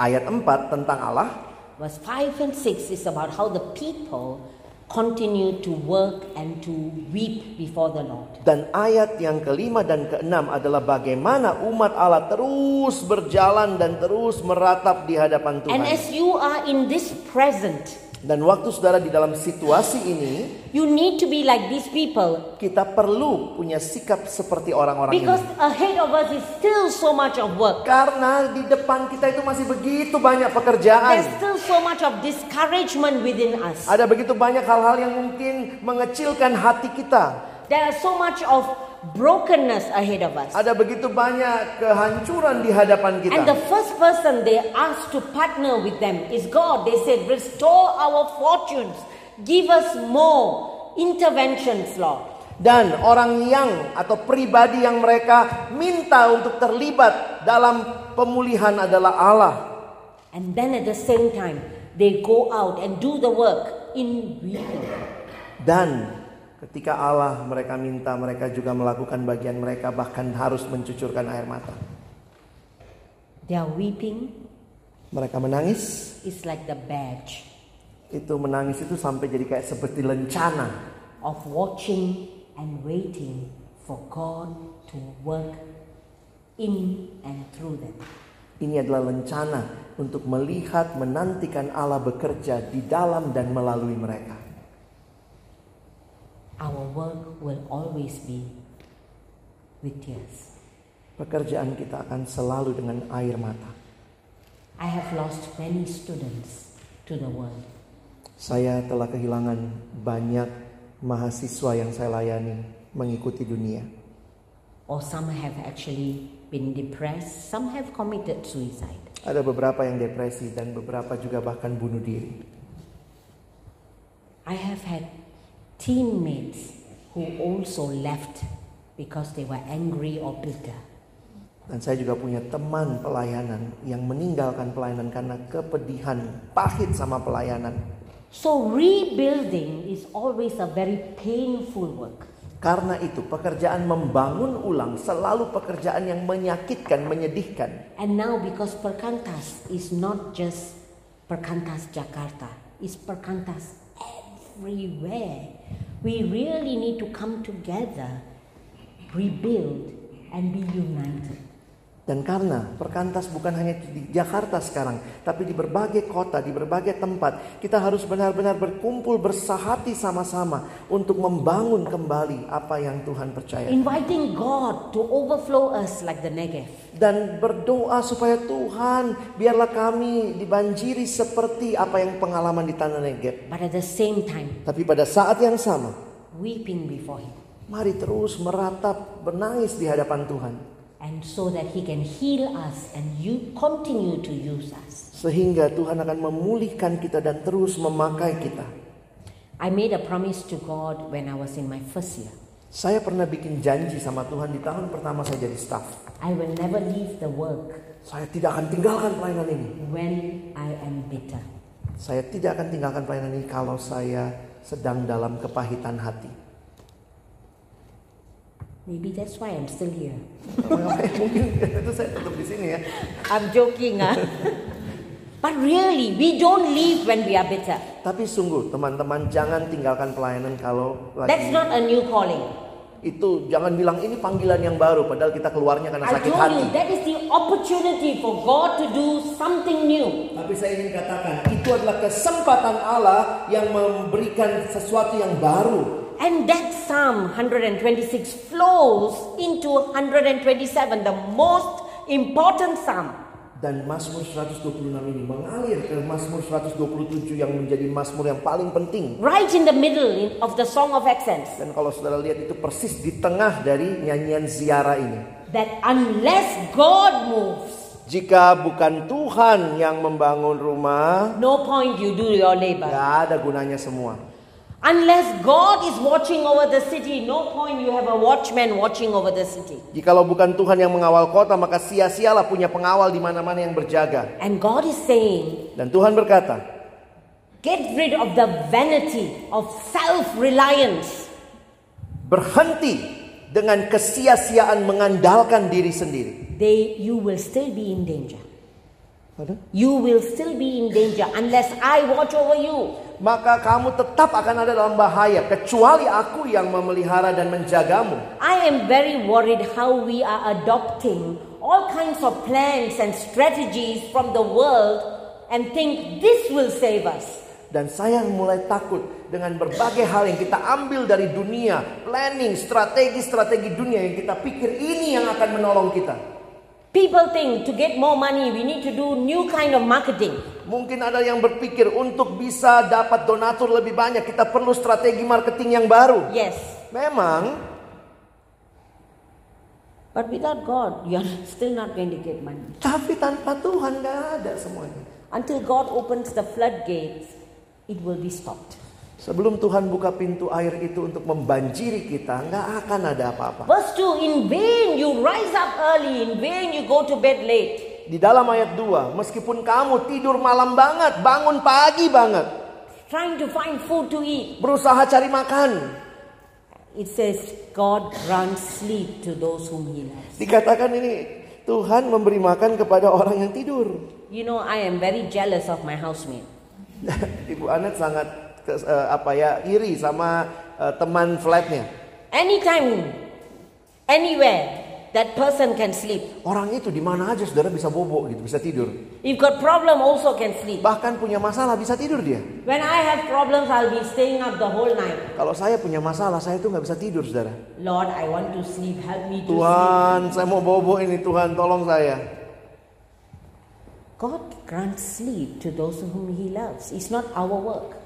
Speaker 1: Ayat 4 tentang Allah,
Speaker 2: Verse 5 and 6 is about how the people continue to work and to weep before the Lord.
Speaker 1: dan ayat yang kelima dan keenam adalah bagaimana umat Allah terus berjalan dan terus meratap di hadapan Tuhan.
Speaker 2: And as you are in this present,
Speaker 1: Dan waktu saudara di dalam situasi ini,
Speaker 2: you need to be like these people
Speaker 1: kita perlu punya sikap seperti orang-orang ini.
Speaker 2: because ahead of us is still so much of work.
Speaker 1: Karena di depan kita itu masih begitu banyak pekerjaan.
Speaker 2: There's still so much of discouragement within us.
Speaker 1: Ada begitu banyak hal-hal yang mungkin mengecilkan hati kita.
Speaker 2: There are so much of brokenness ahead of us.
Speaker 1: Ada begitu banyak kehancuran di hadapan kita.
Speaker 2: And the first person they asked to partner with them is God. They said, Restore our fortunes, give us more interventions, Lord.
Speaker 1: Dan orang yang atau pribadi yang mereka minta untuk terlibat dalam pemulihan adalah Allah.
Speaker 2: And then at the same time, they go out and do the work in weeping.
Speaker 1: Dan ketika Allah mereka minta, mereka juga melakukan bagian mereka bahkan harus mencucurkan air mata.
Speaker 2: Their weeping
Speaker 1: Mereka menangis,
Speaker 2: is like the badge
Speaker 1: itu menangis itu sampai jadi kayak seperti lencana.
Speaker 2: of watching and waiting for God to work in and through them.
Speaker 1: Ini adalah lencana untuk melihat, menantikan Allah bekerja di dalam dan melalui mereka.
Speaker 2: Our work will always be with tears.
Speaker 1: Pekerjaan kita akan selalu dengan air mata.
Speaker 2: I have lost many students to the world.
Speaker 1: Saya telah kehilangan banyak mahasiswa yang saya layani mengikuti dunia.
Speaker 2: Or some have actually been depressed, some have committed suicide.
Speaker 1: Ada beberapa yang depresi dan beberapa juga bahkan bunuh diri.
Speaker 2: I have had teammates who also left because they were angry or bitter.
Speaker 1: Dan saya juga punya teman pelayanan yang meninggalkan pelayanan karena kepedihan, pahit sama pelayanan.
Speaker 2: So, rebuilding is always a very painful work.
Speaker 1: Karena itu pekerjaan membangun ulang selalu pekerjaan yang menyakitkan, menyedihkan.
Speaker 2: And now, because Perkantas is not just Perkantas Jakarta, it's Perkantas everywhere, we really need to come together, rebuild, and be united.
Speaker 1: Dan karena perkantas bukan hanya di Jakarta sekarang, tapi di berbagai kota, di berbagai tempat, kita harus benar-benar berkumpul bersahati sama-sama untuk membangun kembali apa yang Tuhan percaya.
Speaker 2: Inviting God to overflow us like the Negev.
Speaker 1: Dan berdoa supaya Tuhan biarlah kami dibanjiri seperti apa yang pengalaman di Tanah Negev.
Speaker 2: But at the same time,
Speaker 1: Tapi pada saat yang sama,
Speaker 2: weeping before Him.
Speaker 1: mari terus meratap, menangis di hadapan Tuhan.
Speaker 2: and so that He can heal us and you continue to use us.
Speaker 1: Sehingga Tuhan akan memulihkan kita dan terus memakai kita.
Speaker 2: I made a promise to God when I was in my first year.
Speaker 1: Saya pernah bikin janji sama Tuhan di tahun pertama saya jadi staff.
Speaker 2: I will never leave the work
Speaker 1: Saya tidak akan tinggalkan pelayanan ini.
Speaker 2: when I am bitter.
Speaker 1: Saya tidak akan tinggalkan pelayanan ini kalau saya sedang dalam kepahitan hati.
Speaker 2: Maybe that's why I'm still here.
Speaker 1: Mungkin itu saya tetap di sini ya.
Speaker 2: I'm joking, huh? but really, we don't leave when we are bitter.
Speaker 1: Tapi sungguh teman-teman jangan tinggalkan pelayanan kalau
Speaker 2: That's
Speaker 1: lagi
Speaker 2: not a new calling.
Speaker 1: itu jangan bilang ini panggilan yang baru padahal kita keluarnya karena
Speaker 2: I
Speaker 1: sakit
Speaker 2: told
Speaker 1: hati.
Speaker 2: you that is the opportunity for God to do something new.
Speaker 1: Tapi saya ingin katakan itu adalah kesempatan Allah yang memberikan sesuatu yang baru.
Speaker 2: And that Psalm 126 flows into 127, the most important Psalm.
Speaker 1: Dan Mazmur 126 ini mengalir ke Mazmur 127 yang menjadi Mazmur yang paling penting.
Speaker 2: Right in the middle in- of the Song of Accents.
Speaker 1: Dan kalau saudara lihat itu persis di tengah dari nyanyian ziarah ini.
Speaker 2: That unless God moves,
Speaker 1: Jika bukan Tuhan yang membangun rumah,
Speaker 2: no point you do your labor.
Speaker 1: nggak ada gunanya semua.
Speaker 2: Unless God is watching over the city, no point you have a watchman watching over the city.
Speaker 1: Jikalau bukan Tuhan yang mengawal kota, maka sia-sialah punya pengawal di mana-mana yang berjaga.
Speaker 2: And God is saying,
Speaker 1: Dan Tuhan berkata,
Speaker 2: get rid of the vanity of self reliance.
Speaker 1: berhenti dengan kesia-siaan mengandalkan diri sendiri.
Speaker 2: they you will still be in danger
Speaker 1: Ada?
Speaker 2: you will still be in danger unless i watch over you
Speaker 1: Maka kamu tetap akan ada dalam bahaya, kecuali aku yang memelihara dan menjagamu.
Speaker 2: i am very worried how we are adopting all kinds of plans and strategies from the world and think this will save us
Speaker 1: Dan saya mulai takut dengan berbagai hal yang kita ambil dari dunia, planning, strategi-strategi dunia yang kita pikir ini yang akan menolong kita.
Speaker 2: people think to get more money we need to do new kind of marketing
Speaker 1: Mungkin ada yang berpikir untuk bisa dapat donatur lebih banyak, kita perlu strategi marketing yang baru.
Speaker 2: yes
Speaker 1: Memang,
Speaker 2: but without god you are still not going to get money
Speaker 1: tapi tanpa Tuhan gak ada semuanya.
Speaker 2: until god opens the floodgates it will be stopped
Speaker 1: Sebelum Tuhan buka pintu air itu untuk membanjiri kita, nggak akan ada apa-apa.
Speaker 2: Verse 2 In vain you rise up early, in vain you go to bed late.
Speaker 1: Di dalam ayat 2, meskipun kamu tidur malam banget, bangun pagi banget,
Speaker 2: Trying to find food to eat.
Speaker 1: berusaha cari makan.
Speaker 2: It says, God grants sleep to those whom He loves.
Speaker 1: Dikatakan ini, Tuhan memberi makan kepada orang yang tidur.
Speaker 2: You know, I am very jealous of my housemate.
Speaker 1: Ibu Anet sangat kes- eh, apa ya iri sama eh, teman flatnya.
Speaker 2: Anytime, anywhere, that person can sleep.
Speaker 1: Orang itu di mana aja saudara bisa bobo gitu, bisa tidur.
Speaker 2: If got problem, also can sleep.
Speaker 1: Bahkan punya masalah bisa tidur dia.
Speaker 2: When I have problems, I'll be staying up the whole night.
Speaker 1: Kalau saya punya masalah, saya tuh nggak bisa tidur saudara.
Speaker 2: Lord, I want to sleep. Help me to sleep.
Speaker 1: Tuhan, saya mau bobo ini Tuhan, tolong saya.
Speaker 2: God grants sleep to those whom He loves. It's not our work.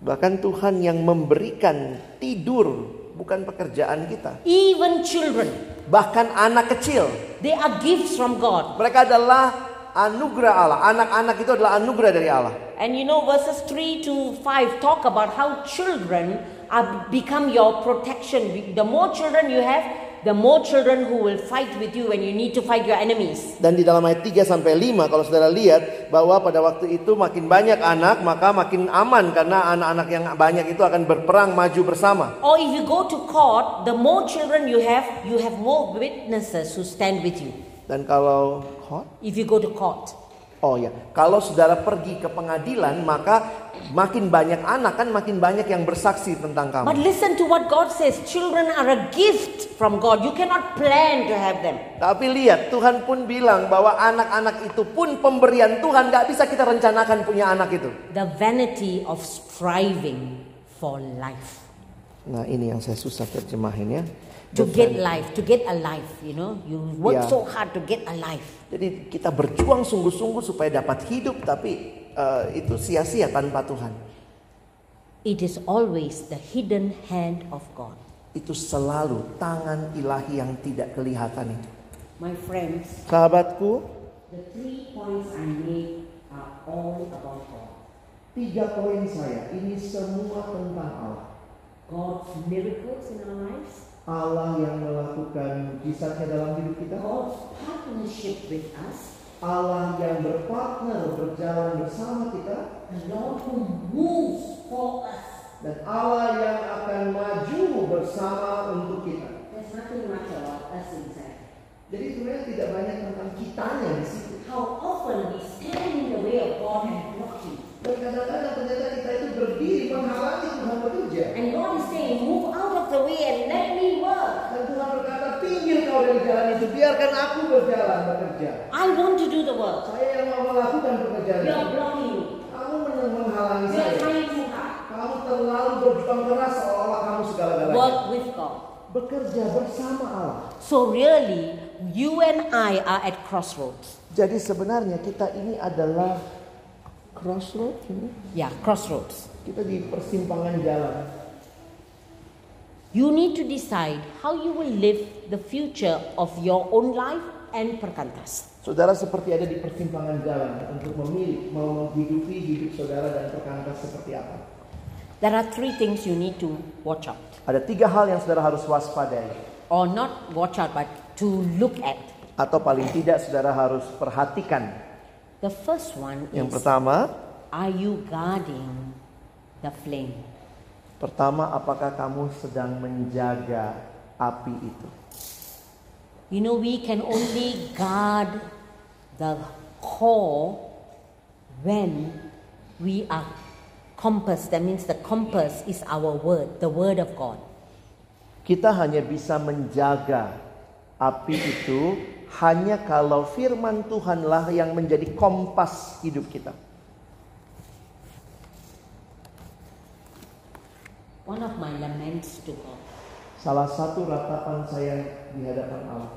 Speaker 1: Bahkan Tuhan yang memberikan tidur bukan pekerjaan kita.
Speaker 2: Even children.
Speaker 1: Bahkan anak kecil,
Speaker 2: They are gifts from God.
Speaker 1: mereka adalah anugerah Allah. Anak-anak itu adalah anugerah dari Allah.
Speaker 2: And you know, verses 3 to 5 talk about how children are become your protection. The more children you have, the more children who will fight with you when you need to fight your enemies.
Speaker 1: Dan di dalam ayat 3 sampai 5 kalau saudara lihat bahwa pada waktu itu makin banyak anak maka makin aman karena anak-anak yang banyak itu akan berperang maju bersama.
Speaker 2: Or if you go to court, the more children you have, you have more witnesses who stand with you.
Speaker 1: Dan kalau Hot?
Speaker 2: If you go to court,
Speaker 1: Oh ya, kalau saudara pergi ke pengadilan maka makin banyak anak kan makin banyak yang bersaksi tentang
Speaker 2: but
Speaker 1: kamu.
Speaker 2: listen to what God says children are a gift from God. You cannot plan to have them.
Speaker 1: Tapi lihat Tuhan pun bilang bahwa anak-anak itu pun pemberian Tuhan nggak bisa kita rencanakan punya anak itu.
Speaker 2: The vanity of striving for life.
Speaker 1: Nah ini yang saya susah terjemahin ya.
Speaker 2: to get life, to get alive, you know. You work
Speaker 1: Yeah.
Speaker 2: so hard to get alive.
Speaker 1: Jadi kita berjuang sungguh-sungguh supaya dapat hidup tapi eh, itu sia-sia tanpa Tuhan.
Speaker 2: It is always the hidden hand of God.
Speaker 1: Itu selalu tangan ilahi yang tidak kelihatan itu.
Speaker 6: My friends,
Speaker 1: Sahabatku,
Speaker 6: the three points I made are all about God.
Speaker 1: tiga poin saya. Ini semua tentang Allah.
Speaker 6: God's miracles in our lives,
Speaker 1: Allah yang melakukan mujizatnya dalam hidup kita.
Speaker 6: God's partnership with us,
Speaker 1: Allah yang berpartner berjalan bersama kita.
Speaker 6: the Lord who moves for us.
Speaker 1: Dan Allah yang akan maju bersama untuk kita.
Speaker 6: There's nothing much about us inside.
Speaker 1: Jadi sebenarnya tidak banyak tentang kitanya di situ.
Speaker 6: How often we stand in the way of God and block Him.
Speaker 1: Dan kadang-kadang ternyata kita itu berdiri menghalangi Tuhan bekerja.
Speaker 6: And God is saying, move out of the way and let me work.
Speaker 1: Dan Tuhan berkata, pinggir kau dari jalan itu, biarkan aku berjalan bekerja.
Speaker 2: I want to do the work.
Speaker 1: Saya yang mau melakukan pekerjaan itu.
Speaker 6: You're blocking me.
Speaker 1: Kamu men- menghalangi saya.
Speaker 6: You're trying too hard.
Speaker 1: Kamu terlalu berjuang keras seolah kamu segala-galanya.
Speaker 2: Work with God.
Speaker 1: Bekerja bersama Allah.
Speaker 2: So really, you and I are at crossroads.
Speaker 1: Jadi sebenarnya kita ini adalah crossroad ini.
Speaker 2: Yeah, crossroads.
Speaker 1: Kita di persimpangan jalan.
Speaker 2: You need to decide how you will live the future of your own life and Perkantas.
Speaker 1: Saudara seperti ada di persimpangan jalan untuk memilih mau menghidupi hidup saudara dan perkantas seperti apa.
Speaker 2: There are three things you need to watch out,
Speaker 1: Ada tiga hal yang saudara harus waspadai
Speaker 2: or not watch out, but to look at.
Speaker 1: atau paling tidak saudara harus perhatikan.
Speaker 2: The first one
Speaker 1: Yang
Speaker 2: is
Speaker 1: pertama,
Speaker 2: Are you guarding the flame?
Speaker 1: pertama apakah kamu sedang menjaga api itu?
Speaker 2: You know, we can only guard the core when we are compass. That means the compass is our word, the word of God.
Speaker 1: Kita hanya bisa menjaga api itu hanya kalau firman Tuhanlah yang menjadi kompas hidup kita.
Speaker 2: One of my laments to God.
Speaker 1: Salah satu ratapan saya di hadapan Allah.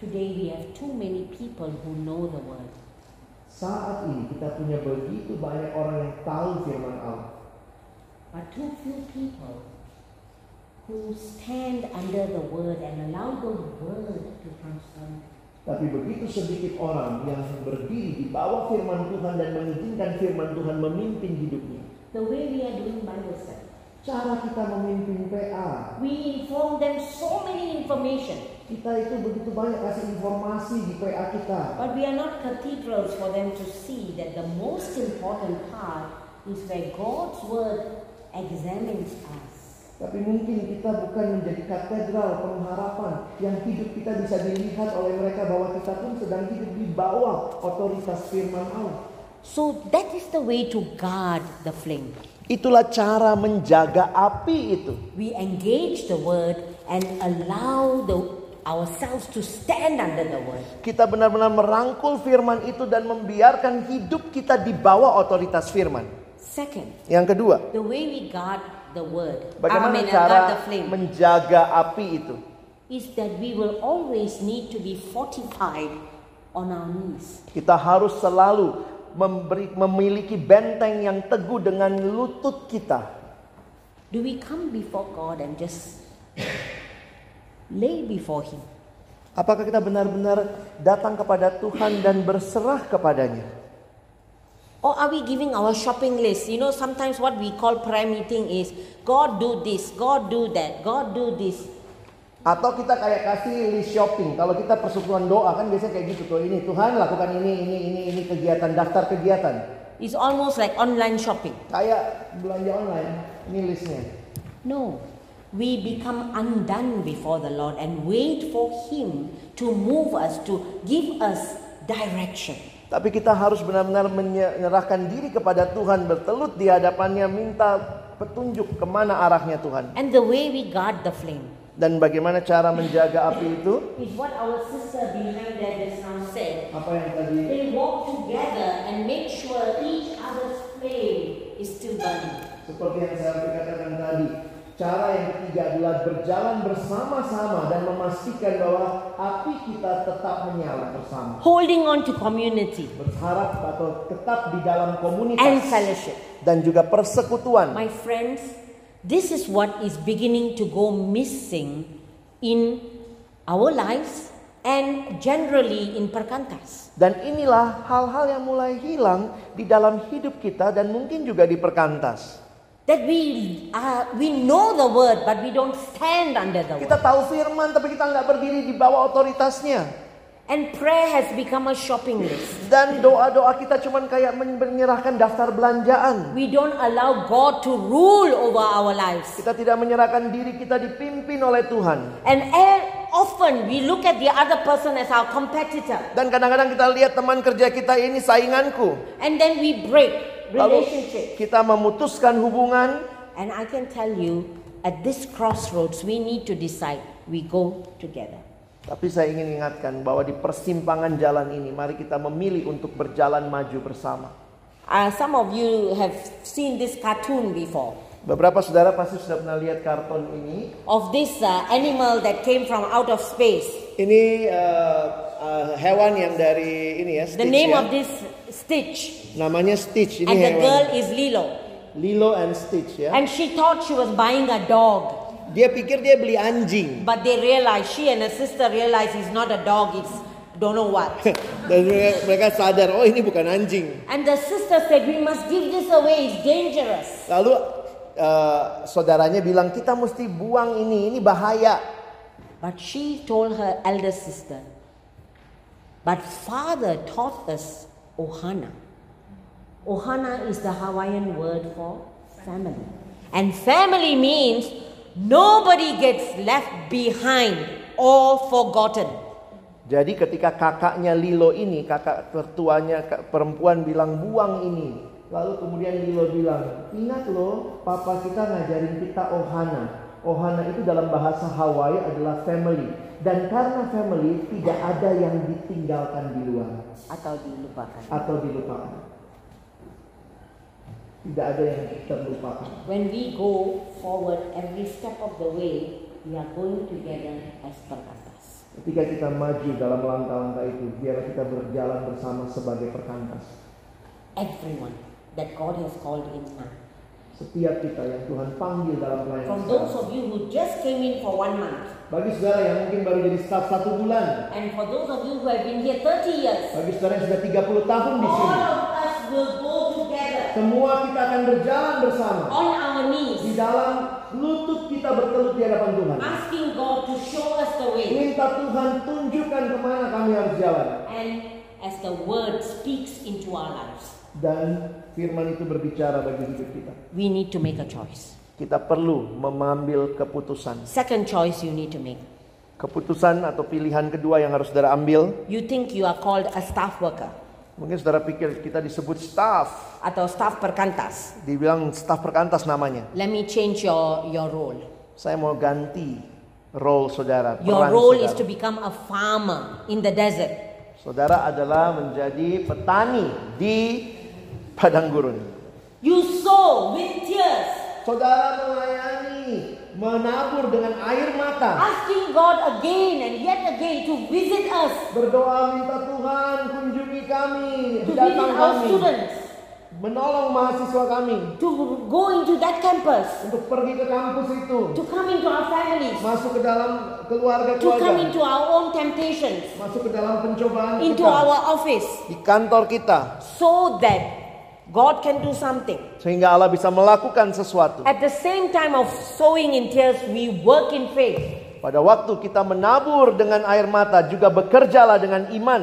Speaker 2: Today we have too many people who know the word.
Speaker 1: Saat ini kita punya begitu banyak orang yang tahu firman Allah.
Speaker 2: But too few people who stand under the word and allow the word to transform.
Speaker 1: Tapi begitu sedikit orang yang berdiri di bawah firman Tuhan dan mengizinkan firman Tuhan memimpin hidupnya.
Speaker 2: The way we are doing Bible study.
Speaker 1: Cara kita memimpin PA,
Speaker 2: We inform them so many information,
Speaker 1: kita itu begitu banyak kasih informasi di PA kita.
Speaker 2: but we are not cathedrals for them to see that the most important part is where God's word examines us.
Speaker 1: Tapi mungkin kita bukan menjadi katedral pengharapan yang hidup kita bisa dilihat oleh mereka bahwa kita pun sedang hidup di bawah otoritas firman Allah.
Speaker 2: So that is the way to guard the flame.
Speaker 1: Itulah cara menjaga api itu.
Speaker 2: We engage the word and allow the, ourselves to stand under the word.
Speaker 1: Kita benar-benar merangkul firman itu dan membiarkan hidup kita di bawah otoritas firman.
Speaker 2: Second,
Speaker 1: Yang kedua,
Speaker 2: the way we guard the word, I
Speaker 1: bagaimana
Speaker 2: mean,
Speaker 1: cara
Speaker 2: guard the flame,
Speaker 1: menjaga api itu?
Speaker 2: is that we will always need to be fortified on our knees.
Speaker 1: Kita harus selalu memberi, memiliki benteng yang teguh dengan lutut kita.
Speaker 2: Do we come before God and just lay before Him?
Speaker 1: Apakah kita benar-benar datang kepada Tuhan dan berserah kepadanya?
Speaker 2: Or are we giving our shopping list? You know, sometimes what we call prayer meeting is God do this, God do that, God do this.
Speaker 1: Atau kita kayak kasih list shopping. Kalau kita persekutuan doa kan biasanya kayak gitu tuh. Ini Tuhan lakukan ini, ini, ini, ini kegiatan, daftar kegiatan.
Speaker 2: It's almost like online shopping.
Speaker 1: Kayak belanja online, ini listnya.
Speaker 2: No, we become undone before the Lord and wait for Him to move us, to give us direction.
Speaker 1: Tapi kita harus benar-benar menyerahkan diri kepada Tuhan, bertelut di hadapannya, minta petunjuk kemana arahnya Tuhan.
Speaker 2: And the way we guard the flame
Speaker 1: Dan bagaimana cara menjaga api itu?
Speaker 2: is what our sister behind there just now said.
Speaker 1: Apa yang tadi?
Speaker 2: They walk together and make sure each other's flame is still burning.
Speaker 1: Seperti yang saya katakan tadi, cara yang ketiga adalah berjalan bersama-sama dan memastikan bahwa api kita tetap menyala bersama.
Speaker 2: Holding on to community
Speaker 1: Berharap atau tetap di dalam
Speaker 2: and
Speaker 1: komunitas
Speaker 2: fellowship.
Speaker 1: dan juga persekutuan.
Speaker 2: My friends, this is what is beginning to go missing in our lives and generally in Perkantas.
Speaker 1: Dan inilah hal-hal yang mulai hilang di dalam hidup kita dan mungkin juga di perkantas.
Speaker 2: That we, uh, we know the word, but we don't stand under the word.
Speaker 1: Kita tahu firman tapi kita nggak berdiri di bawah otoritasnya.
Speaker 2: And prayer has become a shopping list.
Speaker 1: Dan doa-doa kita cuman kayak men- menyerahkan daftar belanjaan.
Speaker 2: We don't allow God to rule over our lives.
Speaker 1: Kita tidak menyerahkan diri kita dipimpin oleh Tuhan.
Speaker 2: And e- often we look at the other person as our competitor.
Speaker 1: Dan kadang-kadang kita lihat teman kerja kita ini sainganku.
Speaker 2: And then we break
Speaker 1: Lalu
Speaker 2: relationship.
Speaker 1: kita memutuskan hubungan
Speaker 2: And I can tell you, at this crossroads, we need to decide we go together.
Speaker 1: Tapi saya ingin ingatkan bahwa di persimpangan jalan ini mari kita memilih untuk berjalan maju bersama.
Speaker 2: Uh, some of you have seen this cartoon before
Speaker 1: Beberapa saudara pasti sudah pernah lihat karton ini.
Speaker 2: of this uh, animal that came from out of space.
Speaker 1: Ini eh, eh, hewan yang dari ini ya,
Speaker 2: The
Speaker 1: Stitch
Speaker 2: name
Speaker 1: ya.
Speaker 2: of this Stitch,
Speaker 1: Namanya Stitch ini
Speaker 2: and the
Speaker 1: hewan.
Speaker 2: girl is Lilo.
Speaker 1: Lilo and Stitch ya.
Speaker 2: And she thought she was buying a dog,
Speaker 1: Dia pikir dia beli anjing.
Speaker 2: but they realized she and her sister realized it's not a dog, it's don't know what.
Speaker 1: Dan mereka, mereka sadar, oh ini bukan anjing.
Speaker 2: and the sister said, "We must give this away. It's dangerous."
Speaker 1: Lalu eh, saudaranya bilang kita mesti buang ini, ini bahaya.
Speaker 2: But she told her elder sister, But father taught us ohana. Ohana is the Hawaiian word for family. And family means nobody gets left behind or forgotten.
Speaker 1: Jadi ketika kakaknya Lilo ini, kakak tertuanya kak- perempuan bilang buang ini. Lalu kemudian Lilo bilang, ingat loh papa kita ngajarin kita Ohana. Ohana itu dalam bahasa Hawaii adalah family. Dan karena family tidak ada yang ditinggalkan di luar
Speaker 2: Atau dilupakan.
Speaker 1: atau dilupakan. Tidak ada yang terlupakan.
Speaker 2: When we go forward every step of the way, we are going together as perkantas.
Speaker 1: Ketika kita maju dalam langkah-langkah itu, biarlah kita berjalan bersama sebagai perkantas.
Speaker 2: Everyone that God has called in now.
Speaker 1: Setiap kita yang Tuhan panggil dalam pelayanan.
Speaker 2: From those
Speaker 1: kita.
Speaker 2: of you who just came in for one month,
Speaker 1: Bagi saudara yang mungkin baru jadi staff satu bulan,
Speaker 2: And for those of you who have been here 30 years,
Speaker 1: bagi saudara yang sudah 30 tahun di
Speaker 2: all
Speaker 1: sini,
Speaker 2: of us will go together
Speaker 1: semua kita akan berjalan bersama
Speaker 2: on our
Speaker 1: di
Speaker 2: knees,
Speaker 1: dalam lutut kita bertelut di hadapan Tuhan.
Speaker 2: asking God to show us the way.
Speaker 1: Minta Tuhan tunjukkan kemana kami harus jalan.
Speaker 2: And as the word speaks into our lives,
Speaker 1: Dan firman itu berbicara bagi hidup kita.
Speaker 2: we need to make a choice.
Speaker 1: Kita perlu mengambil keputusan.
Speaker 2: Second choice you need to make.
Speaker 1: Keputusan atau pilihan kedua yang harus saudara ambil.
Speaker 2: You think you are called a staff worker
Speaker 1: Mungkin saudara pikir kita disebut staff.
Speaker 2: atau staff perkantas.
Speaker 1: Dibilang staff perkantas namanya.
Speaker 2: Let me change your, your role.
Speaker 1: Saya mau ganti role saudara.
Speaker 2: Your
Speaker 1: peran
Speaker 2: role
Speaker 1: saudara.
Speaker 2: is to become a farmer in the desert.
Speaker 1: Saudara adalah menjadi petani di padang gurun.
Speaker 2: You sow with tears.
Speaker 1: Saudara melayani, menabur dengan air mata.
Speaker 2: asking God again and yet again to visit us,
Speaker 1: Berdoa minta Tuhan kunjungi kami,
Speaker 2: to visit
Speaker 1: datang
Speaker 2: our
Speaker 1: kami,
Speaker 2: students,
Speaker 1: menolong mahasiswa kami
Speaker 2: to go into that campus,
Speaker 1: untuk pergi ke kampus itu,
Speaker 2: to come into our families,
Speaker 1: masuk ke dalam keluarga
Speaker 2: to come
Speaker 1: keluarga,
Speaker 2: into our own temptations,
Speaker 1: masuk ke dalam pencobaan
Speaker 2: into
Speaker 1: kita,
Speaker 2: our office,
Speaker 1: di kantor kita,
Speaker 2: so that God can do something.
Speaker 1: sehingga Allah bisa melakukan sesuatu.
Speaker 2: At the same time of sowing in tears, we work in faith.
Speaker 1: Pada waktu kita menabur dengan air mata, juga bekerjalah dengan iman.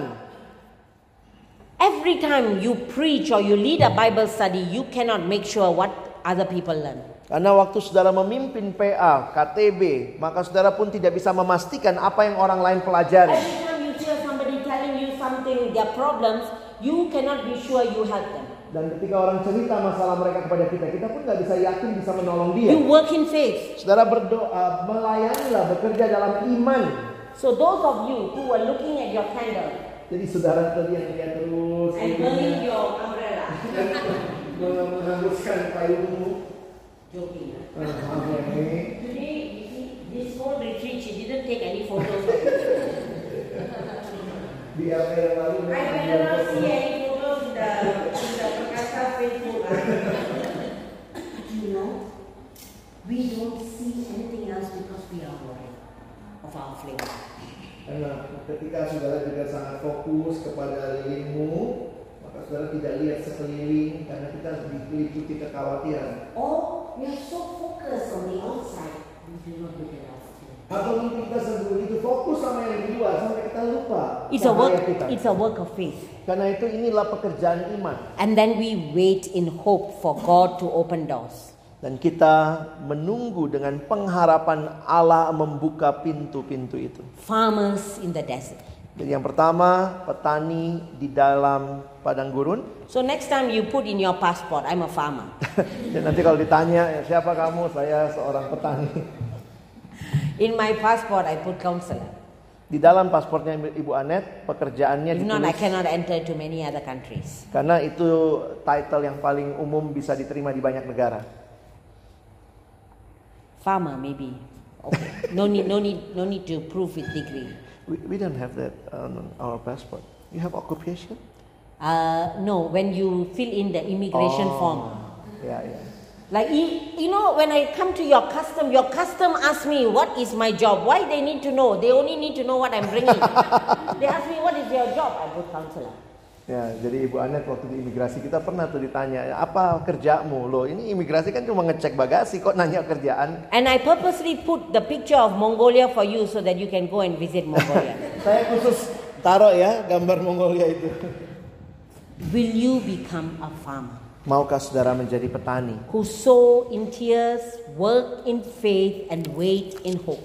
Speaker 2: Every time you preach or you lead a Bible study, you cannot make sure what other people learn.
Speaker 1: Karena waktu saudara memimpin PA, KTB, maka saudara pun tidak bisa memastikan apa yang orang lain pelajari.
Speaker 2: Every time you hear somebody telling you something, their problems, you cannot be sure you help them.
Speaker 1: Dan ketika orang cerita masalah mereka kepada kita, kita pun nggak bisa yakin bisa menolong dia.
Speaker 2: You work in faith.
Speaker 1: Saudara berdoa, melayanilah, bekerja dalam iman.
Speaker 2: So those of you who were looking at your candle
Speaker 1: Jadi saudara tadi yang dia terus
Speaker 2: and burning your umbrella,
Speaker 1: menghanguskan payungmu.
Speaker 2: joking. huh?
Speaker 1: Eh, maaf ya, ini.
Speaker 2: Today, you see, this whole retreat, she didn't take any photos. of it.
Speaker 1: Di LA yang lalu.
Speaker 2: I cannot see any photos in the in the Prakasa Facebook. huh? you know, we don't see anything else because we are worried of our flavor.
Speaker 7: Karena ketika saudara juga sangat fokus kepada lilingmu, maka saudara tidak lihat sekeliling karena kita diliputi kekhawatiran.
Speaker 2: Or we are so focused on the outside, we do not look at us.
Speaker 7: Atau mungkin kita sendiri itu fokus sama yang di luar sampai kita lupa
Speaker 2: It's a
Speaker 7: cahaya
Speaker 2: work.
Speaker 7: kita.
Speaker 2: It's a work of faith.
Speaker 1: Karena itu inilah pekerjaan iman.
Speaker 2: And then we wait in hope for God to open doors.
Speaker 1: Dan kita menunggu dengan pengharapan Allah membuka pintu-pintu itu.
Speaker 2: Farmers in the desert.
Speaker 1: Jadi yang pertama, petani di dalam padang gurun.
Speaker 2: So next time you put in your passport, I'm a farmer.
Speaker 1: Dan Ya, nanti kalau ditanya, "Ya, siapa kamu? Saya seorang petani.
Speaker 2: In my passport, I put counselor.
Speaker 1: Di dalam paspornya Ibu Anet, pekerjaannya
Speaker 2: If not, I
Speaker 1: ditulis.
Speaker 2: cannot enter to many other countries.
Speaker 1: Karena itu title yang paling umum bisa diterima di banyak negara.
Speaker 2: Farmer, maybe. Okay. No need, no need, no need to prove with degree.
Speaker 1: We, we don't have that on our passport. You have occupation?
Speaker 2: Uh, no, when you fill in the immigration
Speaker 1: Oh.
Speaker 2: form.
Speaker 1: Ya, ya.
Speaker 2: Like you, you know, when I come to your custom, your custom ask me what is my job. Why they need to know? They only need to know what I'm bringing. they ask me what is your job. I put counselor.
Speaker 1: Ya, jadi Ibu Anet waktu di imigrasi kita pernah tuh ditanya, apa kerjamu? Loh, ini imigrasi kan cuma ngecek bagasi kok nanya kerjaan.
Speaker 2: And I purposely put the picture of Mongolia for you so that you can go and visit Mongolia.
Speaker 1: Saya khusus taruh ya gambar Mongolia itu.
Speaker 2: Will you become a farmer
Speaker 1: Maukah saudara menjadi petani
Speaker 2: who sow in tears, work in faith, and wait in hope?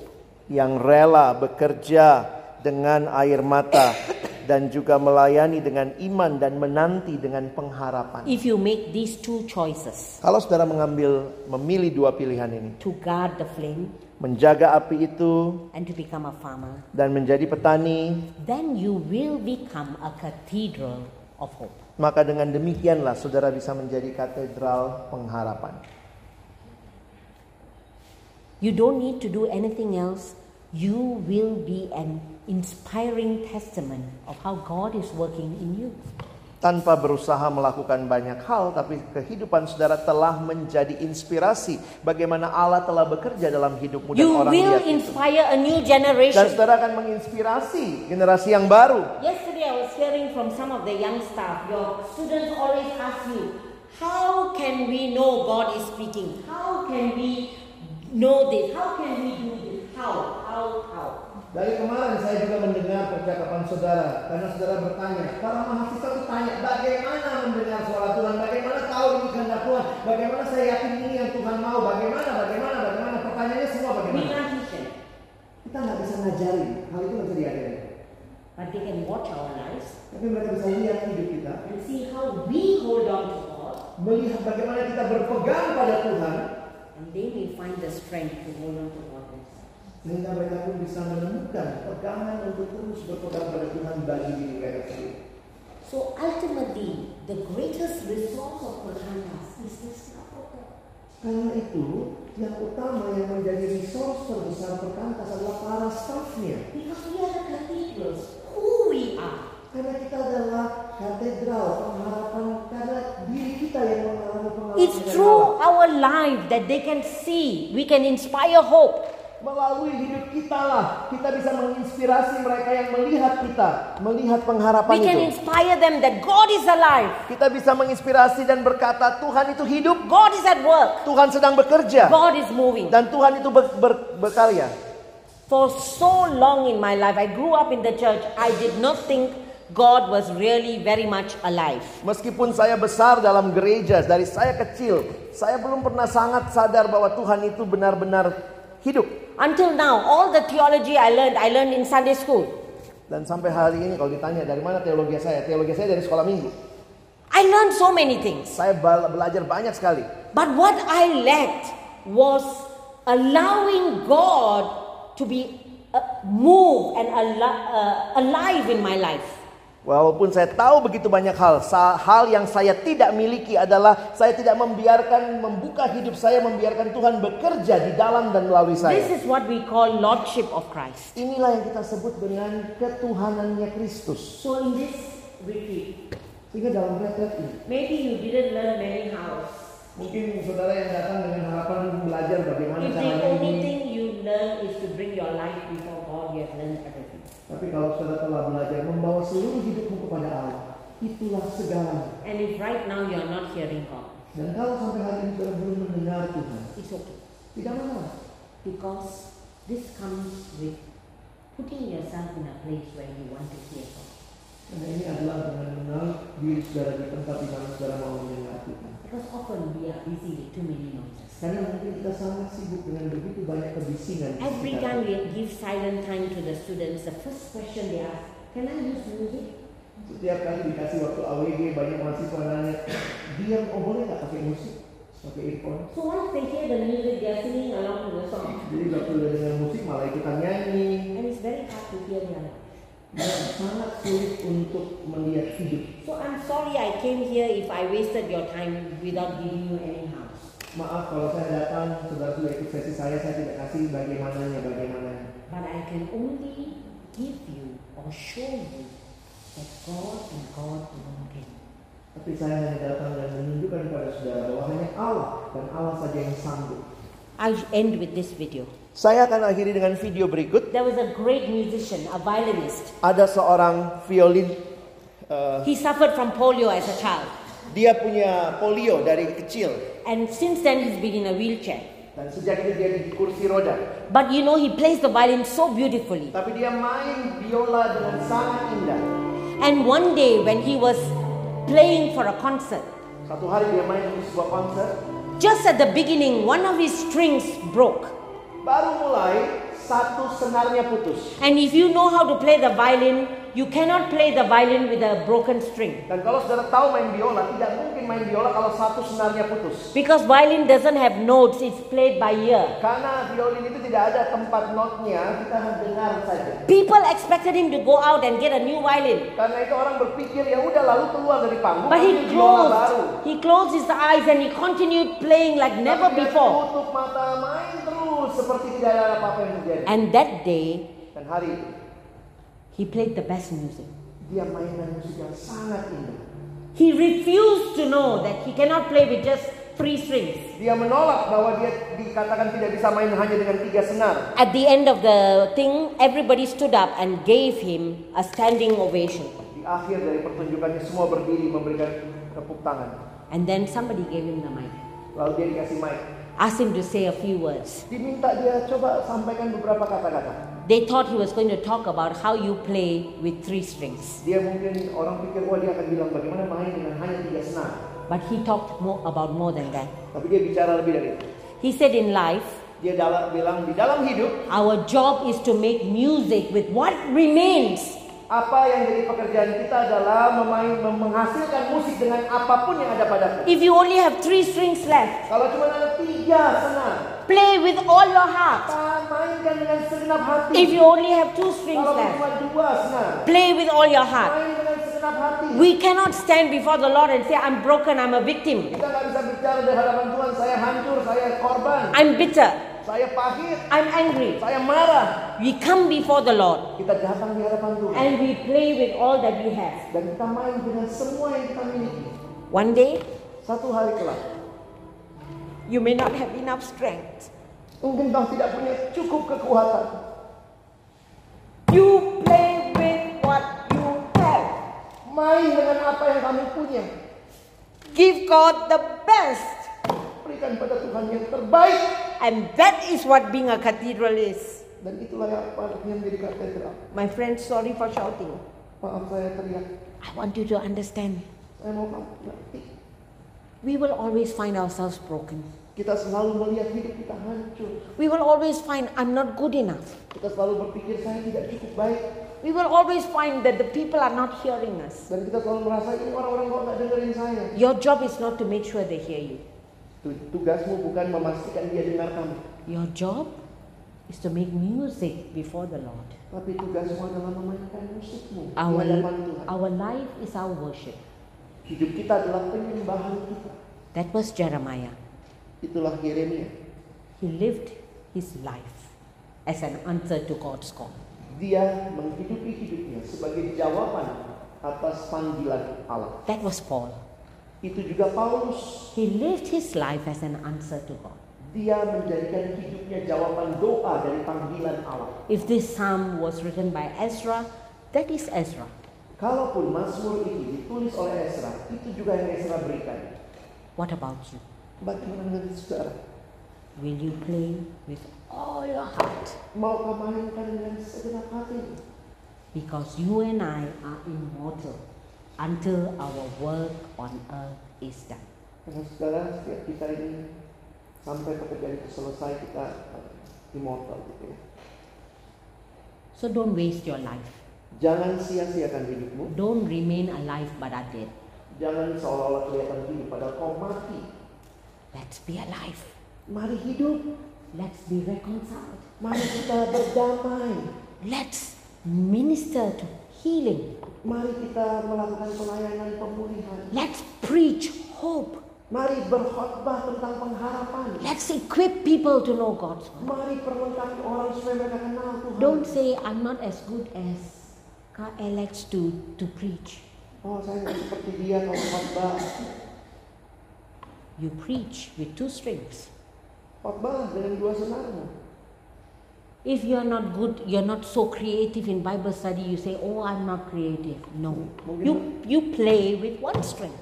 Speaker 1: yang rela bekerja dengan air mata dan juga melayani dengan iman dan menanti dengan pengharapan?
Speaker 2: If you make these two choices
Speaker 1: Kalau saudara mengambil memilih dua pilihan ini,
Speaker 2: to guard the flame
Speaker 1: menjaga api itu
Speaker 2: and to become a farmer,
Speaker 1: dan menjadi petani,
Speaker 2: then you will become a cathedral of hope.
Speaker 1: maka dengan demikianlah saudara bisa menjadi katedral pengharapan.
Speaker 2: You don't need to do anything else. You will be an inspiring testament of how God is working in you.
Speaker 1: Tanpa berusaha melakukan banyak hal, tapi kehidupan saudara telah menjadi inspirasi bagaimana Allah telah bekerja dalam hidupmu dan
Speaker 2: You
Speaker 1: orang
Speaker 2: will
Speaker 1: lihat itu.
Speaker 2: inspire a new
Speaker 1: Dan
Speaker 2: generation.
Speaker 1: saudara akan menginspirasi generasi yang baru.
Speaker 2: Yesterday, I was hearing from some of the young staff. Your students always ask you, How can we know God is speaking? How can we know this? How can we do this? How? How? How?
Speaker 7: Dari kemarin saya juga mendengar percakapan saudara karena saudara bertanya, para mahasiswa itu tanya bagaimana mendengar suara Tuhan, bagaimana tahu ini kehendak Tuhan, bagaimana saya yakin ini yang Tuhan mau, bagaimana, bagaimana, bagaimana, pertanyaannya semua
Speaker 2: We
Speaker 7: bagaimana.
Speaker 2: can't teach them,
Speaker 7: Kita nggak bisa ngajarin, hal itu nggak bisa diajarin.
Speaker 2: but they can watch our lives
Speaker 7: Tapi mereka bisa lihat hidup kita,
Speaker 2: and see how we hold on to God,
Speaker 7: melihat bagaimana kita berpegang pada Tuhan,
Speaker 2: and they may find the strength to hold on to God themselves.
Speaker 7: sehingga mereka pun bisa menemukan pegangan untuk terus berpegang pada Tuhan bagi diri mereka sendiri.
Speaker 2: So ultimately, the greatest resource of Puranas is this Prabhupada.
Speaker 7: Karena itu, yang utama yang menjadi resource terbesar perkantas adalah para staffnya.
Speaker 2: Because we are the cathedrals, who we are.
Speaker 7: Karena kita adalah katedral pengharapan karena diri kita yang mengalami pengalaman.
Speaker 2: It's through our life that they can see, we can inspire hope.
Speaker 1: Melalui hidup kita lah, kita bisa menginspirasi mereka yang melihat kita, melihat pengharapan
Speaker 2: We can
Speaker 1: itu.
Speaker 2: inspire them that God is alive,
Speaker 1: Kita bisa menginspirasi dan berkata, Tuhan itu hidup,
Speaker 2: God is at work,
Speaker 1: Tuhan sedang bekerja.
Speaker 2: God is moving.
Speaker 1: Dan Tuhan itu ber- ber- berkarya.
Speaker 2: For so long in my life, I grew up in the church, I did not think God was really very much alive.
Speaker 1: Meskipun saya besar dalam gereja, dari saya kecil, saya belum pernah sangat sadar bahwa Tuhan itu benar-benar hidup.
Speaker 2: Until now, all the theology I learned, I learned in Sunday school.
Speaker 1: Dan sampai hari ini kalau ditanya dari mana teologi saya, teologi saya dari sekolah minggu.
Speaker 2: I learned so many things.
Speaker 1: Saya bal- belajar banyak sekali.
Speaker 2: But what I lacked was allowing God to be uh, moved and al- uh, alive in my life.
Speaker 1: Walaupun saya tahu begitu banyak hal, sa- hal yang saya tidak miliki adalah saya tidak membiarkan membuka hidup saya, membiarkan Tuhan bekerja di dalam dan melalui
Speaker 2: This
Speaker 1: saya.
Speaker 2: is what we call Lordship of Christ.
Speaker 1: Inilah yang kita sebut dengan ketuhanannya Kristus.
Speaker 2: So, in this retreat,
Speaker 1: Sehingga dalam retret ini,
Speaker 2: maybe you didn't learn many hows.
Speaker 1: mungkin saudara yang datang dengan harapan belajar bagaimana
Speaker 2: If the
Speaker 1: caranya
Speaker 2: only
Speaker 1: ini
Speaker 2: thing you learn is to bring your life before God, you have learned everything.
Speaker 7: Tapi kalau saudara telah belajar membawa seluruh hidupmu kepada Allah, itulah segalanya.
Speaker 2: And if right now you are not hearing God,
Speaker 7: Dan kalau sampai hari ini saudara belum mendengar Tuhan,
Speaker 2: it's okay.
Speaker 7: tidak masalah.
Speaker 2: Because this comes with putting yourself in a place where you want to hear God.
Speaker 7: Karena ini adalah dengan mengenal diri saudara di tempat di mana saudara mau mendengar Tuhan.
Speaker 2: Because often we are busy with too many noises.
Speaker 7: Karena mungkin kita sangat sibuk dengan begitu banyak kebisingan. di
Speaker 2: Every
Speaker 7: sekitar
Speaker 2: time
Speaker 7: kita.
Speaker 2: we give silent time to the students, the first question they ask, can I use music?
Speaker 7: Setiap kali dikasih waktu AWG banyak mahasiswa nanya, diam, oh boleh nggak pakai musik, pakai earphone?
Speaker 2: So once they hear the music, they are singing along to the song.
Speaker 7: Jadi waktu udah dengar musik malah ikutan nyanyi.
Speaker 2: And it's very hard to hear their life.
Speaker 7: Dan sangat sulit untuk melihat hidup.
Speaker 2: So I'm sorry I came here if I wasted your time without giving you any harm.
Speaker 7: Maaf kalau saya datang, saudara sudah ikut sesi saya, saya tidak kasih bagaimananya, bagaimananya.
Speaker 2: But I can only give you or show you that God and God alone can.
Speaker 7: Tapi saya hanya datang dan menunjukkan kepada saudara bahwa hanya Allah dan Allah saja yang sanggup.
Speaker 2: I'll end with this video.
Speaker 1: Saya akan akhiri dengan video berikut.
Speaker 2: There was a great musician, a violinist.
Speaker 1: Ada seorang violin, eh,
Speaker 2: He suffered from polio as a child.
Speaker 1: dia punya polio dari kecil
Speaker 2: And since then, he's been in a wheelchair.
Speaker 1: dan sejak itu dia di kursi roda.
Speaker 2: But you know, he plays the violin so beautifully.
Speaker 1: Tapi dia main biola dengan sangat indah.
Speaker 2: And one day, when he was playing for a concert,
Speaker 1: Satu hari dia main di sebuah konser,
Speaker 2: just at the beginning, one of his strings broke.
Speaker 1: baru mulai satu senarnya putus.
Speaker 2: And if you know how to play the violin, you cannot play the violin with a broken string
Speaker 1: Dan kalau saudara tahu main biola, tidak mungkin main biola kalau satu senarnya putus.
Speaker 2: because violin doesn't have notes, it's played by ear.
Speaker 1: Karena violin itu tidak ada tempat notnya, kita mendengar saja.
Speaker 2: People expected him to go out and get a new violin,
Speaker 1: Karena itu orang berpikir ya udah lalu keluar dari panggung,
Speaker 2: but he
Speaker 1: ambil biola baru.
Speaker 2: closed. He closed his eyes and he continued playing like never
Speaker 1: Tapi dia
Speaker 2: before.
Speaker 1: Tutup mata main terus seperti tidak ada apa-apa yang terjadi.
Speaker 2: And that day,
Speaker 1: Dan hari itu
Speaker 2: he played the best music.
Speaker 1: dia mainan musik yang sangat indah.
Speaker 2: He refused to know that he cannot play with just three strings.
Speaker 1: Dia menolak bahwa dia dikatakan tidak bisa main hanya dengan tiga senar.
Speaker 2: At the end of the thing, everybody stood up and gave him a standing ovation.
Speaker 1: Di akhir dari pertunjukannya semua berdiri memberikan tepuk tangan.
Speaker 2: And then somebody gave him the mic,
Speaker 1: Lalu dia dikasih mic.
Speaker 2: asked him to say a few words.
Speaker 1: Diminta dia coba sampaikan beberapa kata-kata.
Speaker 2: They thought he was going to talk about how you play with three strings,
Speaker 1: Dia mungkin orang pikir wah dia akan bilang bagaimana main dengan hanya tiga senar.
Speaker 2: but he talked more about more than that.
Speaker 1: Tapi dia bicara lebih dari itu.
Speaker 2: He said, In life,
Speaker 1: Dia dalam, bilang di dalam hidup
Speaker 2: our job is to make music with what remains.
Speaker 1: apa yang jadi pekerjaan kita adalah memain, menghasilkan musik dengan apapun yang ada padaku.
Speaker 2: If you only have three strings left,
Speaker 1: Kalau cuma ada tiga senar,
Speaker 2: play with all your heart.
Speaker 1: ta- mainkan dengan segenap hati.
Speaker 2: If you only have two strings
Speaker 1: Kalau
Speaker 2: left,
Speaker 1: cuma dua senar,
Speaker 2: Play with all your heart.
Speaker 1: main dengan segenap hati.
Speaker 2: We cannot stand before the Lord and say, I'm broken, I'm a victim,
Speaker 1: Kita nggak bisa bicara di hadapan Tuhan, saya hancur, saya korban,
Speaker 2: I'm bitter,
Speaker 1: saya pahit,
Speaker 2: I'm angry.
Speaker 1: saya marah.
Speaker 2: We come before the Lord
Speaker 1: Kita datang di hadapan Tuhan
Speaker 2: and we play with all that we have.
Speaker 1: dan kita main dengan semua yang kita miliki.
Speaker 2: One day,
Speaker 1: Satu hari kelak,
Speaker 2: you may not have enough strength.
Speaker 1: mungkin kau tidak punya cukup kekuatan.
Speaker 2: You play with what you have.
Speaker 1: Main dengan apa yang kami punya.
Speaker 2: Give God the best.
Speaker 1: Berikan pada Tuhan yang terbaik.
Speaker 2: And that is what being a cathedral is.
Speaker 1: Dan itulah yang apa yang menjadi katedral.
Speaker 2: My friend, sorry for shouting.
Speaker 1: Maaf saya teriak.
Speaker 2: I want you to understand.
Speaker 1: Saya mau kamu ngerti.
Speaker 2: We will always find ourselves broken.
Speaker 1: Kita selalu melihat hidup kita hancur.
Speaker 2: We will always find I'm not good enough.
Speaker 1: Kita selalu berpikir saya tidak cukup baik.
Speaker 2: We will always find that the people are not hearing us.
Speaker 1: Dan kita selalu merasa ini orang-orang kok nggak dengerin saya.
Speaker 2: Your job is not to make sure they hear you.
Speaker 1: Tu- Tugasmu bukan memastikan dia dengar kamu.
Speaker 2: Your job is to make music before the Lord.
Speaker 1: Tapi tugasmu adalah memainkan musikmu di
Speaker 2: Our,
Speaker 1: hadapan Tuhan.
Speaker 2: our life is our worship.
Speaker 1: Hidup kita adalah penyembahan kita.
Speaker 2: That was Jeremiah.
Speaker 1: Itulah Yeremia.
Speaker 2: He lived his life as an answer to God's call.
Speaker 1: Dia menghidupi hidupnya sebagai jawaban atas panggilan Allah.
Speaker 2: That was Paul.
Speaker 1: Itu juga Paulus.
Speaker 2: He lived his life as an answer to God.
Speaker 1: Dia menjadikan hidupnya jawaban doa dari panggilan Allah.
Speaker 2: If this psalm was written by Ezra, that is Ezra.
Speaker 1: Kalaupun Mazmur itu ditulis oleh Ezra, itu juga yang Ezra berikan.
Speaker 2: What about you?
Speaker 1: Bagaimana dengan saudara?
Speaker 2: Will you play with all your heart?
Speaker 1: Mau mainkan dengan segenap hati?
Speaker 2: Because you and I are immortal until our work on earth is done.
Speaker 1: Karena saudara, setiap kita ini sampai pekerjaan itu selesai kita eh, immortal gitu ya.
Speaker 2: So don't waste your life.
Speaker 1: Jangan sia-siakan hidupmu.
Speaker 2: Don't remain alive but are dead.
Speaker 1: Jangan seolah-olah kelihatan hidup padahal kau mati.
Speaker 2: Let's be alive.
Speaker 1: Mari hidup.
Speaker 2: Let's be reconciled.
Speaker 1: Mari kita berdamai.
Speaker 2: Let's minister to healing.
Speaker 1: Mari kita melakukan pelayanan pemulihan.
Speaker 2: Let's preach hope.
Speaker 1: Mari berkhotbah tentang pengharapan.
Speaker 2: Let's equip people to know God's word.
Speaker 1: Mari perlengkapi orang supaya mereka kenal Tuhan.
Speaker 2: Don't say I'm not as good as KLX to, to preach.
Speaker 1: Oh, saya nggak seperti dia kalau khotbah.
Speaker 2: You preach with two strings.
Speaker 1: Khotbah dengan dua senarmu.
Speaker 2: If you're not good, you're not so creative in Bible study, you say, Oh, I'm not creative. No. You, you play with one string.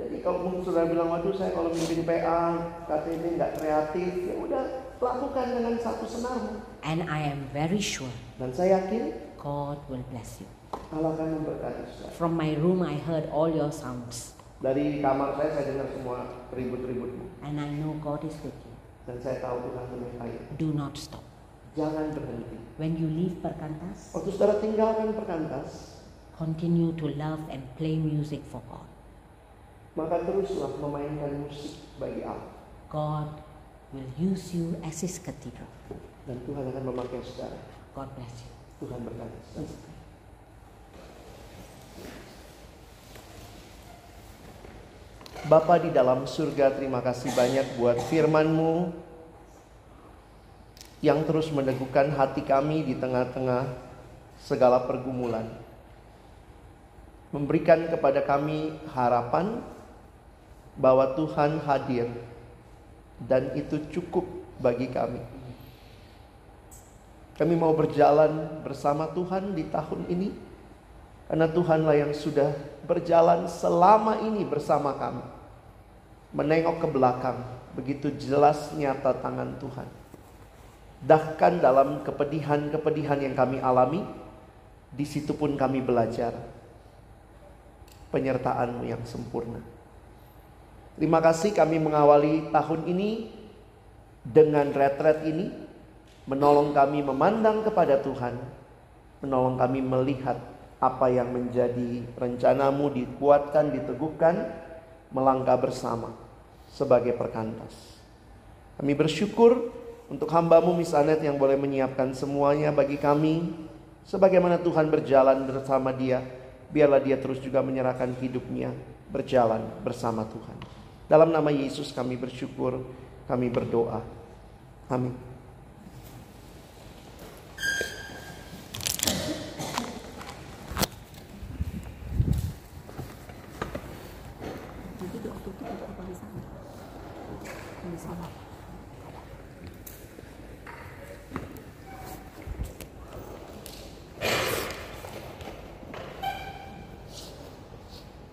Speaker 1: Jadi kalau mungkin saudara bilang, waduh saya kalau mimpin PA, KTB nggak kreatif, ya udah lakukan dengan satu senarmu.
Speaker 2: And I am very sure
Speaker 1: Dan saya yakin
Speaker 2: God will bless you.
Speaker 1: Allah akan memberkati saudara.
Speaker 2: From my room, I heard all your sounds.
Speaker 1: Dari kamar saya saya dengar semua ribut-ributmu
Speaker 2: And I know God is with you.
Speaker 1: dan saya tahu Tuhan menyertai.
Speaker 2: Do not stop.
Speaker 1: Jangan berhenti.
Speaker 2: When you leave Perkantas,
Speaker 1: Waktu saudara tinggalkan perkantas,
Speaker 2: continue to love and play music for God.
Speaker 1: maka teruslah memainkan musik bagi Allah
Speaker 2: God will use you as His cathedral.
Speaker 1: dan Tuhan akan memakai saudara.
Speaker 2: God bless you.
Speaker 1: Tuhan berkati saudara. Bapa di dalam surga, terima kasih banyak buat firman-Mu yang terus meneguhkan hati kami di tengah-tengah segala pergumulan. Memberikan kepada kami harapan bahwa Tuhan hadir dan itu cukup bagi kami. Kami mau berjalan bersama Tuhan di tahun ini karena Tuhanlah yang sudah berjalan selama ini bersama kami. Menengok ke belakang, begitu jelas nyata tangan Tuhan. Bahkan dalam kepedihan-kepedihan yang kami alami, di situ pun kami belajar penyertaan-Mu yang sempurna. Terima kasih kami mengawali tahun ini dengan retret ini, menolong kami memandang kepada Tuhan menolong kami melihat apa yang menjadi rencanamu dikuatkan, diteguhkan, melangkah bersama sebagai perkantas. Kami bersyukur untuk hambamu Miss Anet yang boleh menyiapkan semuanya bagi kami. Sebagaimana Tuhan berjalan bersama dia, biarlah dia terus juga menyerahkan hidupnya berjalan bersama Tuhan. Dalam nama Yesus kami bersyukur, kami berdoa. Amin.
Speaker 4: Nanti di waktu itu kita paling sama. Yang salah.